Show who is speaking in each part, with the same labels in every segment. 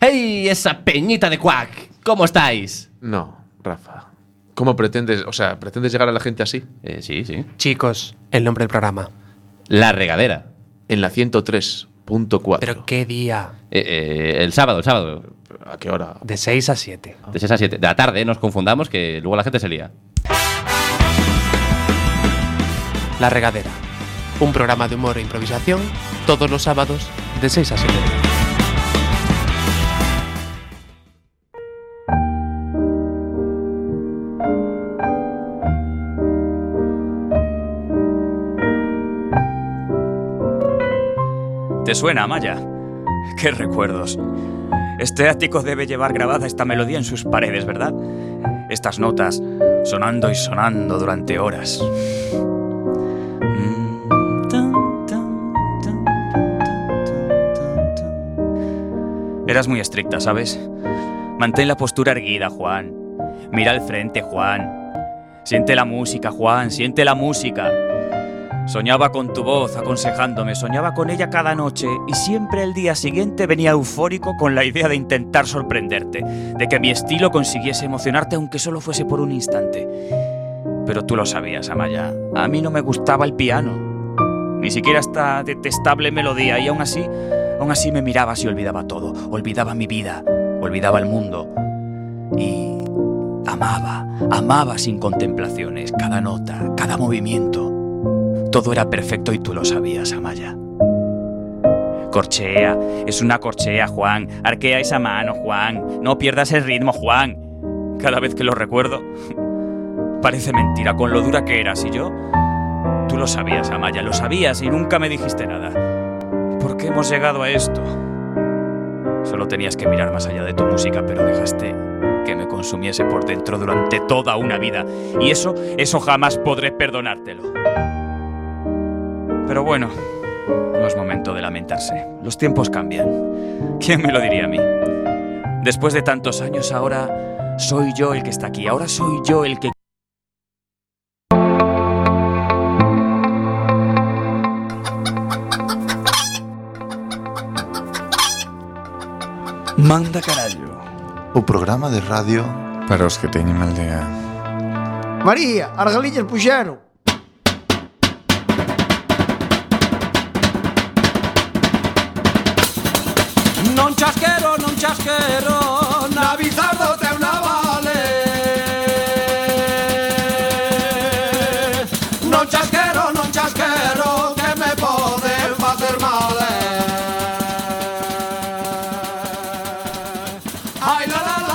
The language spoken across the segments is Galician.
Speaker 1: ¡Ey, esa peñita de cuac! ¿Cómo estáis?
Speaker 2: No, Rafa. ¿Cómo pretendes? O sea, ¿pretendes llegar a la gente así?
Speaker 1: Eh, sí, sí.
Speaker 3: Chicos, el nombre del programa.
Speaker 1: La regadera.
Speaker 2: En la 103.4.
Speaker 3: Pero qué día.
Speaker 1: Eh, eh, el sábado, el sábado.
Speaker 2: ¿A qué hora?
Speaker 3: De 6 a 7.
Speaker 1: De 6 a 7. De la tarde, eh, no nos confundamos, que luego la gente se lía.
Speaker 3: La regadera. Un programa de humor e improvisación todos los sábados de 6 a 7.
Speaker 4: ¿Te suena, Maya? ¡Qué recuerdos! Este ático debe llevar grabada esta melodía en sus paredes, ¿verdad? Estas notas sonando y sonando durante horas. Eras muy estricta, ¿sabes? Mantén la postura erguida, Juan. Mira al frente, Juan. Siente la música, Juan. Siente la música. Soñaba con tu voz aconsejándome, soñaba con ella cada noche y siempre el día siguiente venía eufórico con la idea de intentar sorprenderte, de que mi estilo consiguiese emocionarte aunque solo fuese por un instante. Pero tú lo sabías, Amaya, a mí no me gustaba el piano, ni siquiera esta detestable melodía y aún así, aún así me mirabas y olvidaba todo, olvidaba mi vida, olvidaba el mundo y amaba, amaba sin contemplaciones cada nota, cada movimiento. Todo era perfecto y tú lo sabías, Amaya. Corchea, es una corchea, Juan. Arquea esa mano, Juan. No pierdas el ritmo, Juan. Cada vez que lo recuerdo, parece mentira con lo dura que eras y yo. Tú lo sabías, Amaya, lo sabías y nunca me dijiste nada. ¿Por qué hemos llegado a esto? Solo tenías que mirar más allá de tu música, pero dejaste que me consumiese por dentro durante toda una vida. Y eso, eso jamás podré perdonártelo. Pero bueno, no es momento de lamentarse. Los tiempos cambian. ¿Quién me lo diría a mí? Después de tantos años, ahora soy yo el que está aquí. Ahora soy yo el que...
Speaker 5: Manda carallo.
Speaker 6: O programa de radio
Speaker 7: Para os que teñen mal día.
Speaker 8: María, as galiñas puxeron.
Speaker 9: Non chasquero, non chasquero, na bizardo te una vale. Non chasquero, non chasquero, que me poden facer mal. eh. Ai, la, la, la.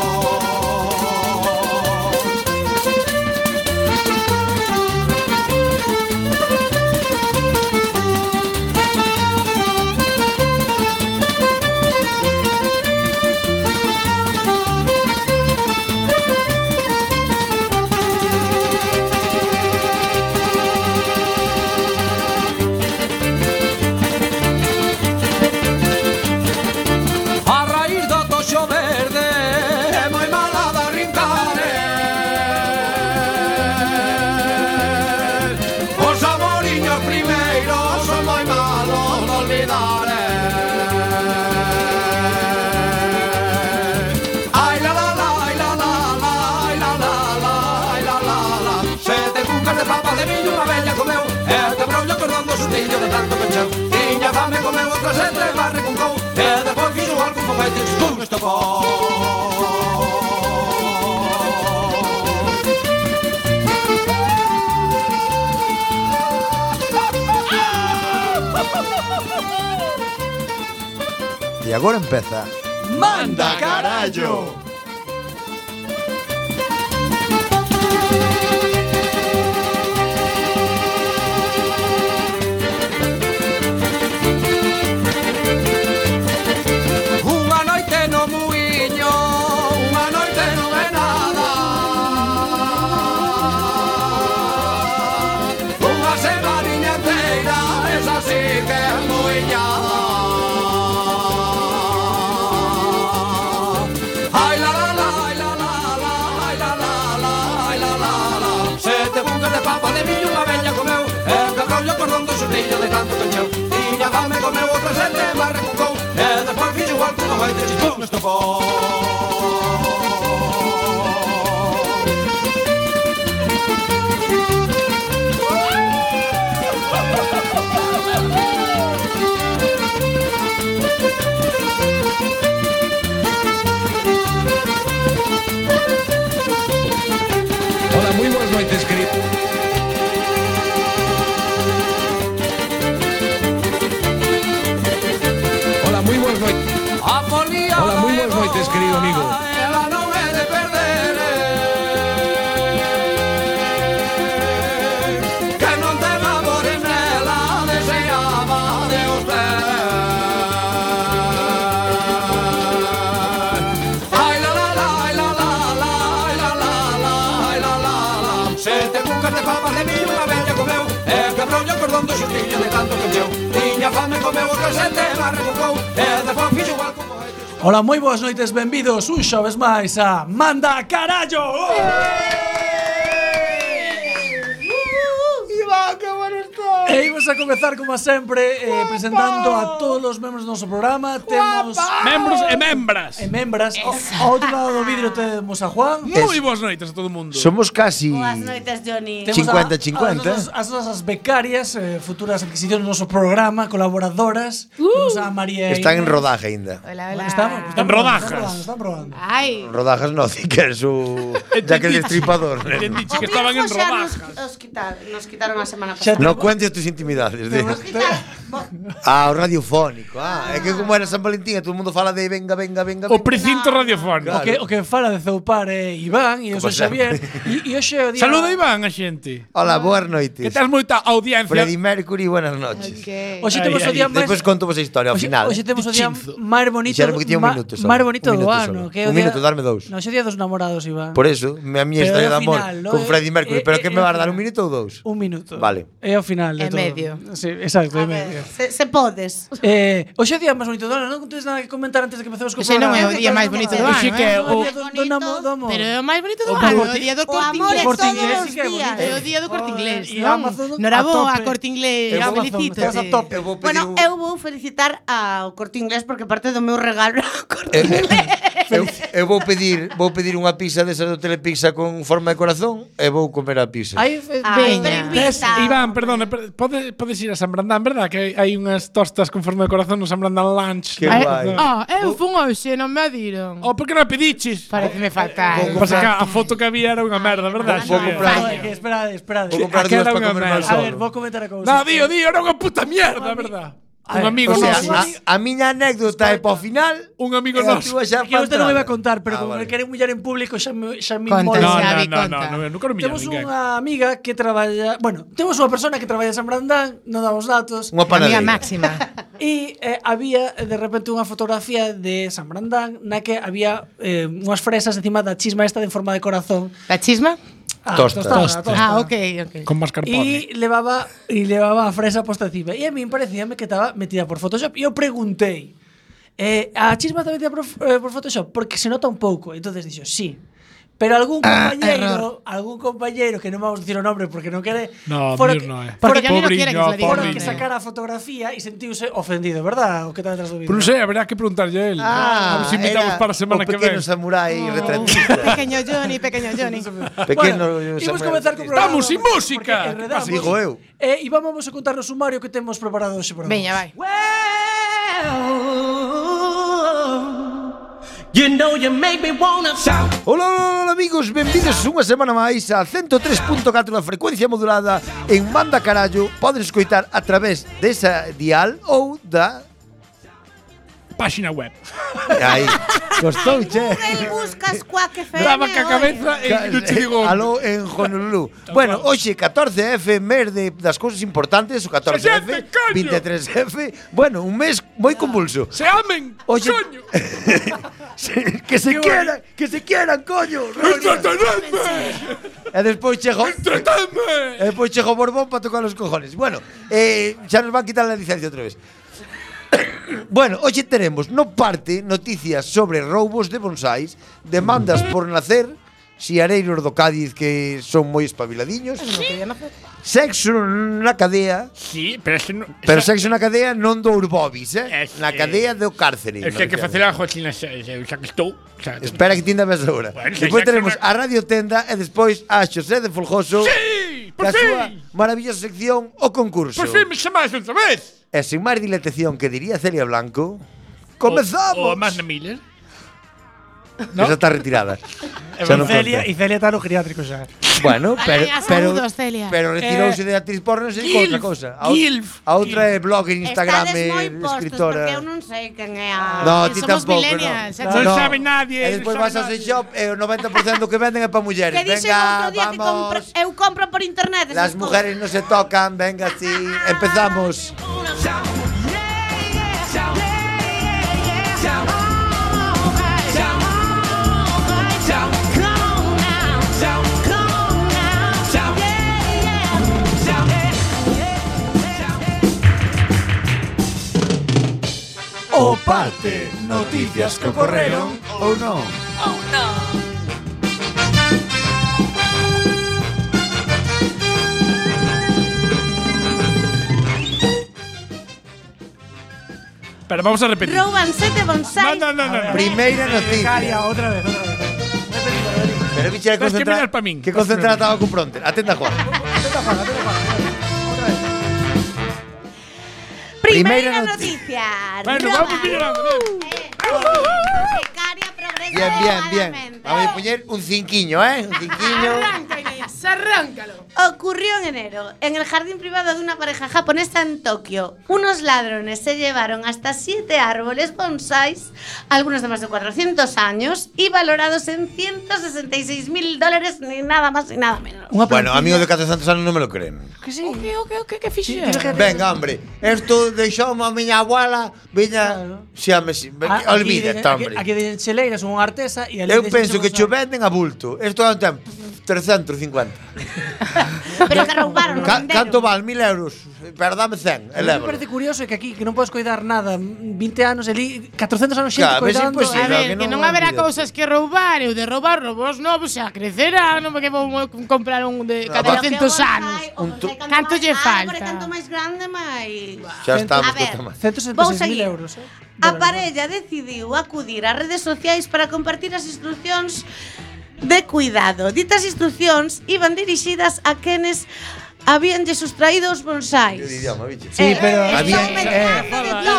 Speaker 9: A raíz do toxo verde É moi mala da rincare Os amoriños primeiros Son moi malos de olvidar eh. Ai la la la, ai la la la Ai la la la, ai la la la Sete cucas de papa de millo Unha bella comeu E te brollo cordón do sustillo de tanto pecheu Tiña fame comeu outra sete Mas recuncou E depois fixo algún foguete Pum, estopou
Speaker 10: E agora empeza
Speaker 9: Manda carallo. Unha noite no muiño, unha noite non é nada. Unha semaniña inteira, esa sí que é muiñada. yo de tanto canchão Tiña fame, comeu outra sete, mas recucou E despois fixo o alto no baile de chichón Estocou
Speaker 5: Hola, muy buenas noites, querido. Hola, muy buenas noites. Hola, muy buenas noites, querido amigo.
Speaker 9: Ela non é de perder eh, Que non te labores nela Deseaba de os pés Ai la la la, ai la la la Ai la la la, ai la la la Sete cucas de papas de mil unha bella comeu E quebroulle o cordón do xustillo de tanto que encheu Tiña fame comeu o que sete Mas recucou e despois fixo igual como hai
Speaker 11: Ola, moi boas noites, benvidos un xoves máis a Manda Carallo!
Speaker 8: Iván, que bueno estoy.
Speaker 11: E imos a comezar, como sempre, eh, presentando a todos os membros do noso programa. Temos...
Speaker 12: Membros e membras.
Speaker 11: E membras. O, ao outro lado do vidro temos a Juan.
Speaker 12: Moi boas noites a todo mundo.
Speaker 10: Somos casi
Speaker 13: Boas noites, Johnny.
Speaker 11: Temos a- a nosas- As nosas becarias, eh, futuras adquisicións do noso programa, colaboradoras. Temos a María
Speaker 10: Están en
Speaker 11: Inés.
Speaker 10: rodaje ainda.
Speaker 13: Uh. Hola, hola.
Speaker 11: Estamos, estamos
Speaker 12: rodajas.
Speaker 11: Están probando.
Speaker 13: Ai.
Speaker 10: Rodajas no, que su Jack el Destripador. neno.
Speaker 13: O que estaban en rodajas. Nos, quitar, nos quitaron a semana
Speaker 10: Xa
Speaker 13: pasada.
Speaker 10: te- No cuentes tus intimidades. de- Ah, o radiofónico. Ah, é que como era San Valentín, e todo el mundo fala de venga, venga, venga.
Speaker 12: O precinto radiofónico.
Speaker 11: O que, o que fala de zoupar é Iván e eu
Speaker 10: Como
Speaker 11: sou Xavier. E, e hoxe é o día...
Speaker 12: Saluda Iván a xente.
Speaker 10: Hola, boas noites.
Speaker 12: Que tens moita audiencia.
Speaker 10: Freddie Mercury, buenas noches.
Speaker 13: Okay.
Speaker 11: Hoxe temos o día máis...
Speaker 10: Despois conto vos a historia ao
Speaker 11: Hoxe-
Speaker 10: final.
Speaker 11: Hoxe temos o día
Speaker 12: Dichinzo.
Speaker 11: máis bonito,
Speaker 10: Dixeron que tiña un
Speaker 11: ma-
Speaker 10: minuto só.
Speaker 11: máis bonito
Speaker 10: Un
Speaker 11: do
Speaker 10: minuto
Speaker 11: ano,
Speaker 10: só.
Speaker 11: que é o
Speaker 10: Un
Speaker 11: día-
Speaker 10: minuto, darme dous.
Speaker 11: No, hoxe é o día dos namorados, Iván.
Speaker 10: Por eso, a miña
Speaker 11: Pero
Speaker 10: historia
Speaker 11: é o
Speaker 10: de amor
Speaker 11: final, ¿no? Eh,
Speaker 10: con Freddie
Speaker 11: É-
Speaker 10: Mercury.
Speaker 11: é-
Speaker 10: pero que
Speaker 11: é
Speaker 10: me
Speaker 11: o
Speaker 10: vas a dar un
Speaker 11: final.
Speaker 10: minuto ou dous?
Speaker 11: Un minuto.
Speaker 10: Vale.
Speaker 11: É o final de
Speaker 13: É
Speaker 11: todo.
Speaker 13: medio.
Speaker 11: Sí, exacto, é
Speaker 13: A
Speaker 11: medio.
Speaker 13: ver, se, se podes.
Speaker 11: Eh, hoxe é o día máis bonito do ano, non tedes nada que comentar antes de que empecemos co
Speaker 14: Ese non
Speaker 11: programa.
Speaker 14: é o día máis bonito do
Speaker 11: Hoxe
Speaker 14: ano,
Speaker 11: que
Speaker 14: eh?
Speaker 11: é o
Speaker 13: Bonito,
Speaker 11: do namo- do amor.
Speaker 14: Pero é o máis bonito do
Speaker 11: O
Speaker 14: ano,
Speaker 11: Corte-
Speaker 14: o día do
Speaker 13: O
Speaker 14: corte
Speaker 13: amor
Speaker 14: inglés.
Speaker 13: é
Speaker 11: Corte
Speaker 13: todos
Speaker 11: inglés, eh, sí
Speaker 13: os
Speaker 11: que é bonito.
Speaker 13: días.
Speaker 14: É o día do corte
Speaker 11: Oh,
Speaker 14: inglés,
Speaker 11: e
Speaker 14: non?
Speaker 11: Amazon a
Speaker 14: Noraboa,
Speaker 11: tope.
Speaker 14: corte inglés,
Speaker 11: E Amazon,
Speaker 14: felicítote.
Speaker 11: estás a tope.
Speaker 10: Eu vou pedir
Speaker 13: Bueno,
Speaker 10: un...
Speaker 13: eu vou felicitar ao Corte Inglés porque parte do meu regalo ao Corte
Speaker 10: Eu-
Speaker 13: Inglés.
Speaker 10: Eh, Eu, eu vou pedir, vou pedir unha pizza desa do Telepizza con forma de corazón e vou comer a pizza.
Speaker 11: Aí fe-
Speaker 13: Ai, pero
Speaker 14: Veña.
Speaker 12: Tes,
Speaker 13: invita.
Speaker 12: Iván, perdona, per- pode, podes ir a San Brandán, verdad? Que hai, hai unhas tostas con forma de corazón no San Brandán Lunch.
Speaker 10: Que
Speaker 14: Ai,
Speaker 10: guai.
Speaker 14: Oh, eu fun hoxe, non me a diron.
Speaker 12: Oh, por que non a pediches?
Speaker 14: Pareceme fatal.
Speaker 12: Pasa que a foto que había era unha merda, verdad?
Speaker 10: Eh, Vou
Speaker 12: Xavier?
Speaker 10: comprar-
Speaker 11: Ai, que esperade, esperade.
Speaker 10: Vou comprar
Speaker 12: aquela
Speaker 10: dúas para
Speaker 12: unha
Speaker 10: comer mal
Speaker 12: merda.
Speaker 11: A ver,
Speaker 10: solo.
Speaker 11: vou comentar a cousa.
Speaker 12: No, dio, dio, era unha puta mierda, verdad?
Speaker 11: Ay,
Speaker 12: Un amigo
Speaker 10: O sea,
Speaker 12: noso.
Speaker 10: a, a miña anécdota é para o final
Speaker 12: Un
Speaker 10: e
Speaker 12: amigo
Speaker 10: a
Speaker 12: noso.
Speaker 10: túa xa
Speaker 11: que eu
Speaker 10: pa
Speaker 11: usted non me iba a
Speaker 10: entrada.
Speaker 11: contar, pero
Speaker 10: Ah,
Speaker 11: como
Speaker 10: vale.
Speaker 11: me queren mullar en público, xa me, xa me
Speaker 14: Conta,
Speaker 11: mola.
Speaker 12: No, no,
Speaker 14: Xavi,
Speaker 12: no, no,
Speaker 14: conta.
Speaker 12: no, non quero millar
Speaker 11: Temos
Speaker 12: ninguén.
Speaker 11: unha amiga que traballa, bueno, temos unha persona que traballa en San Brandán, non damos datos,
Speaker 10: Unha
Speaker 14: A mía
Speaker 10: panadeira.
Speaker 14: máxima.
Speaker 11: e eh, había eh, de repente unha fotografía de San Brandán na que había eh, unhas fresas encima da chisma esta de forma de corazón.
Speaker 14: Da chisma?
Speaker 11: Ah,
Speaker 10: Tosta.
Speaker 11: tostada, tostada.
Speaker 14: Ah, ok, ok.
Speaker 12: Con mascarpone.
Speaker 11: E levaba e levaba a fresa posta encima. E a min parecíame que estaba metida por Photoshop. E eu preguntei. Eh, a chisma está metida por, eh, por Photoshop porque se nota un pouco. Entonces dixo, "Sí". Pero algún
Speaker 14: Ah,
Speaker 11: compañeiro, algún compañeiro que non vamos dicir o nombre porque non quere,
Speaker 12: No,
Speaker 11: foro
Speaker 12: míos
Speaker 11: que-
Speaker 12: non é.
Speaker 11: foro
Speaker 14: Porque
Speaker 11: que-
Speaker 14: ya non
Speaker 12: Pobriño,
Speaker 14: quiere que se la diga.
Speaker 11: foro
Speaker 12: pobriño.
Speaker 11: que sacara a fotografía e sentiuse ofendido, verdad? O que está detrás do vídeo.
Speaker 12: Pero non sei, habrá que preguntarlle a él. a ver se invitamos
Speaker 10: era
Speaker 12: para a semana
Speaker 10: o
Speaker 12: que
Speaker 10: pequeno
Speaker 12: ven.
Speaker 10: samurái retratista.
Speaker 14: Pequeño Johnny, pequeño Johnny.
Speaker 10: Pequeno
Speaker 11: Bueno,
Speaker 10: Samuel
Speaker 11: imos comezar co
Speaker 10: Batista.
Speaker 11: programa.
Speaker 12: Estamos sin música.
Speaker 11: porque enredamos.
Speaker 10: Que pasa? Digo eu.
Speaker 11: Eh, e vamos a contar o sumario que temos preparado hoxe para
Speaker 14: Veña, vai.
Speaker 9: Oh, You know you make me wanna shout
Speaker 10: Hola, hola, hola, amigos, benvidos unha semana máis a 103.4 da frecuencia modulada en Manda Carallo. Poden escoitar a través desa dial ou da...
Speaker 12: Páxina web.
Speaker 10: Aí, costou, che.
Speaker 13: Google buscas coa que feme.
Speaker 12: Daba ca cabeza e non te digo.
Speaker 10: eh, Aló en Honolulu. bueno, hoxe 14F, mes de, das cousas importantes, o 14F,
Speaker 12: Sesenta, coño.
Speaker 10: 23F. Bueno, un mes moi convulso.
Speaker 12: Se amen,
Speaker 10: Oye,
Speaker 12: coño.
Speaker 10: Se- que se quieran, que se quieran, coño.
Speaker 12: Entretenedme,
Speaker 10: e despois chego E
Speaker 12: entretenme.
Speaker 10: despois chego Borbón para tocar os cojones. Bueno, eh, xa nos van quitar a licencia outra vez. Bueno, hoxe teremos no parte noticias sobre roubos de bonsáis, demandas por nacer, siareiros do Cádiz que son moi espabiladiños. Sexo na cadea,
Speaker 12: Sí, pero es que no.
Speaker 10: pero
Speaker 12: esa-
Speaker 10: sexo na cadea non do Urbobis, eh? Na
Speaker 12: eh,
Speaker 10: cadea do cárcere.
Speaker 12: Es que hay que
Speaker 10: me refiero.
Speaker 12: hacer la cochina, se- se- o sea, que estou. eh, o sea,
Speaker 10: Espera que tinda ves agora.
Speaker 12: Bueno, sí,
Speaker 10: despois
Speaker 12: xa que
Speaker 10: tenemos
Speaker 12: non-
Speaker 10: a Radio Tenda e despois a Xosé de Folgoso. Sí,
Speaker 12: por
Speaker 10: a
Speaker 12: fin!
Speaker 10: súa maravillosa sección o concurso.
Speaker 12: Por fin me llamas otra vez.
Speaker 10: E sin máis dilatación que diría Celia Blanco, comezamos.
Speaker 12: O, o Amanda Miller.
Speaker 10: Esa está retirada.
Speaker 12: E
Speaker 10: Xa non
Speaker 12: vai Celia
Speaker 10: conta.
Speaker 11: Y Celia está no geriátrico xa.
Speaker 10: Bueno, pero
Speaker 14: Vale, a
Speaker 10: pero
Speaker 14: saúdos, Celia.
Speaker 10: pero retirouse
Speaker 14: Eh,
Speaker 10: de actriz porno e se dedicou a outra
Speaker 14: Gilf,
Speaker 10: cousa. A, ou-
Speaker 14: Gilf,
Speaker 10: a outra é blogger, Instagram,
Speaker 13: Estades moi
Speaker 10: eh,
Speaker 13: postos,
Speaker 10: escritora.
Speaker 13: porque eu non sei quen é a...
Speaker 10: No, ti
Speaker 13: Que somos
Speaker 10: tampouco,
Speaker 13: millennials,
Speaker 10: no.
Speaker 13: xa che-
Speaker 10: nadie. E despois vas ao sex shop e o 90% do que venden é para mulleres.
Speaker 13: Que dixen o
Speaker 10: Venga,
Speaker 13: outro día que compro,
Speaker 10: vamos.
Speaker 13: eu compro por internet esas
Speaker 10: Las
Speaker 13: cousas.
Speaker 10: mujeres no se tocan, venga, sí. Empezamos.
Speaker 6: O parte, noticias que ocorreron
Speaker 10: Oh,
Speaker 6: ou non.
Speaker 12: Pero vamos a repetir.
Speaker 13: Rouban sete bonsais.
Speaker 12: No, no, no, no.
Speaker 10: Primeira noticia.
Speaker 11: Becaria, otra vez, otra vez.
Speaker 10: Pero bicho, que
Speaker 12: Tens que mirar
Speaker 10: concentrar.
Speaker 12: pa min.
Speaker 10: Que concentrar estaba con Pronter. Atenta, Juan.
Speaker 13: Primeira
Speaker 10: Primeira
Speaker 13: noticia.
Speaker 12: Bueno,
Speaker 13: Roban.
Speaker 12: vamos mirando.
Speaker 13: Eh.
Speaker 10: Bien, bien, bien. Vamos a poner un cinquiño, ¿eh? Un cinquiño.
Speaker 13: Inés, arráncalo. Ocurrió en enero, en el jardín privado de una pareja japonesa en Tokio. Unos ladrones se llevaron hasta siete árboles bonsais, algunos de más de 400 años, y valorados en 166 mil dólares, ni nada más ni nada menos.
Speaker 10: Bueno, amigos de Casa Santos Anos no me lo creen.
Speaker 13: Que sí. Ok, ok, ok, que fixe.
Speaker 10: Venga, hombre. Esto deixou a miña abuela, viña, xame, si- olvida,
Speaker 11: Ah, aquí,
Speaker 10: tá, hombre.
Speaker 11: Aquí de Cheleiras un artesa e ali
Speaker 10: Eu
Speaker 11: dixen
Speaker 10: penso que
Speaker 11: bonsai.
Speaker 10: cho venden a bulto. Esto é un tempo. 350.
Speaker 13: Pero que roubaron, non
Speaker 10: Ca
Speaker 13: venderon.
Speaker 10: canto val? 1000 euros. Pero dame
Speaker 11: A mí
Speaker 10: 100,
Speaker 11: Me
Speaker 10: elévalo.
Speaker 11: parece curioso que aquí que non podes coidar nada, mm, 20 anos ali, 400 anos xente
Speaker 10: Claro, pero é
Speaker 11: coidando.
Speaker 10: imposible,
Speaker 11: a ver,
Speaker 10: que
Speaker 14: Que
Speaker 10: non
Speaker 14: non haberá
Speaker 10: olvides.
Speaker 14: cousas que roubar e o de roubar robos novos xa crecerá, non porque vou mo- comprar un de
Speaker 10: No, va.
Speaker 14: 400 anos.
Speaker 13: Eh,
Speaker 10: Un tu-
Speaker 14: Canto lle falta?
Speaker 13: Canto máis grande, máis...
Speaker 10: Xa estamos
Speaker 13: A ver,
Speaker 10: co tema.
Speaker 13: Vou
Speaker 11: 176.000
Speaker 13: seguir.
Speaker 11: euros. Eh?
Speaker 13: A parella decidiu acudir ás redes sociais para compartir as instruccións de cuidado. Ditas instruccións iban dirixidas a quenes habíanlle sustraído os bonsais.
Speaker 10: idioma, bicho.
Speaker 13: Sí, pero-
Speaker 10: Había,
Speaker 13: Había- eh,
Speaker 10: era do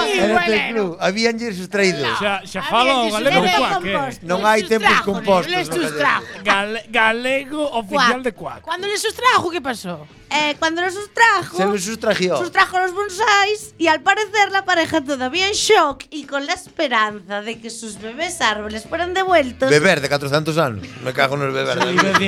Speaker 10: club. Habían lle sustraído.
Speaker 12: Xa, xa falo
Speaker 14: Alguén
Speaker 12: galego
Speaker 14: dixo
Speaker 12: cuac,
Speaker 14: que
Speaker 12: eh.
Speaker 10: Non hai tempos compostos.
Speaker 14: Les
Speaker 10: no me
Speaker 14: sustrajo.
Speaker 12: Gale- galego oficial
Speaker 13: Cuac.
Speaker 12: de cuac.
Speaker 14: Cando les sustrajo, que pasó?
Speaker 13: Eh, cuando los sustrajo,
Speaker 10: Se los sustrajió.
Speaker 13: sustrajo los bonsáis y al parecer la pareja todavía en shock y con la esperanza de que sus bebés árboles fueran devueltos.
Speaker 10: Beber de 400 anos. Me cago nos beber.